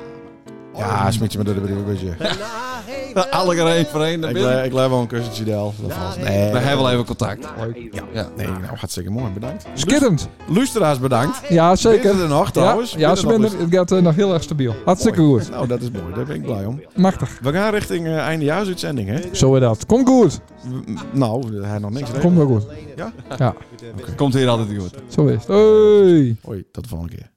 Speaker 1: Ja, smet je me door de brievenbusje.
Speaker 3: Naar even
Speaker 4: Alle er één voor één naar
Speaker 1: Ik
Speaker 4: binnen.
Speaker 1: le- ik leef wel een kussentje del. Dat valt nee.
Speaker 4: We hebben wel even contact.
Speaker 1: Nee,
Speaker 2: Ah.
Speaker 1: nou, hartstikke mooi. Bedankt.
Speaker 2: Skitterend.
Speaker 1: Luisteraars bedankt.
Speaker 2: Ja, zeker.
Speaker 1: Binnen er nog
Speaker 2: Ja,
Speaker 1: trouwens.
Speaker 2: ja
Speaker 1: Binnen
Speaker 2: ze
Speaker 1: nog
Speaker 2: zijn er-
Speaker 1: lust-
Speaker 2: het gaat eh, nog heel erg stabiel. Hartstikke
Speaker 1: Mooi.
Speaker 2: goed.
Speaker 1: Nou, dat is mooi. Daar ben ik blij om.
Speaker 2: Machtig.
Speaker 1: We gaan richting eh, eindejaarsuitzending, hè?
Speaker 2: Zo is dat. Komt goed.
Speaker 1: W- Nou, hij nog niks.
Speaker 2: Komt wel goed.
Speaker 1: Ja?
Speaker 2: Ja,
Speaker 4: Komt hier altijd goed.
Speaker 2: zo is het. Hoi.
Speaker 1: Oei, tot de volgende keer.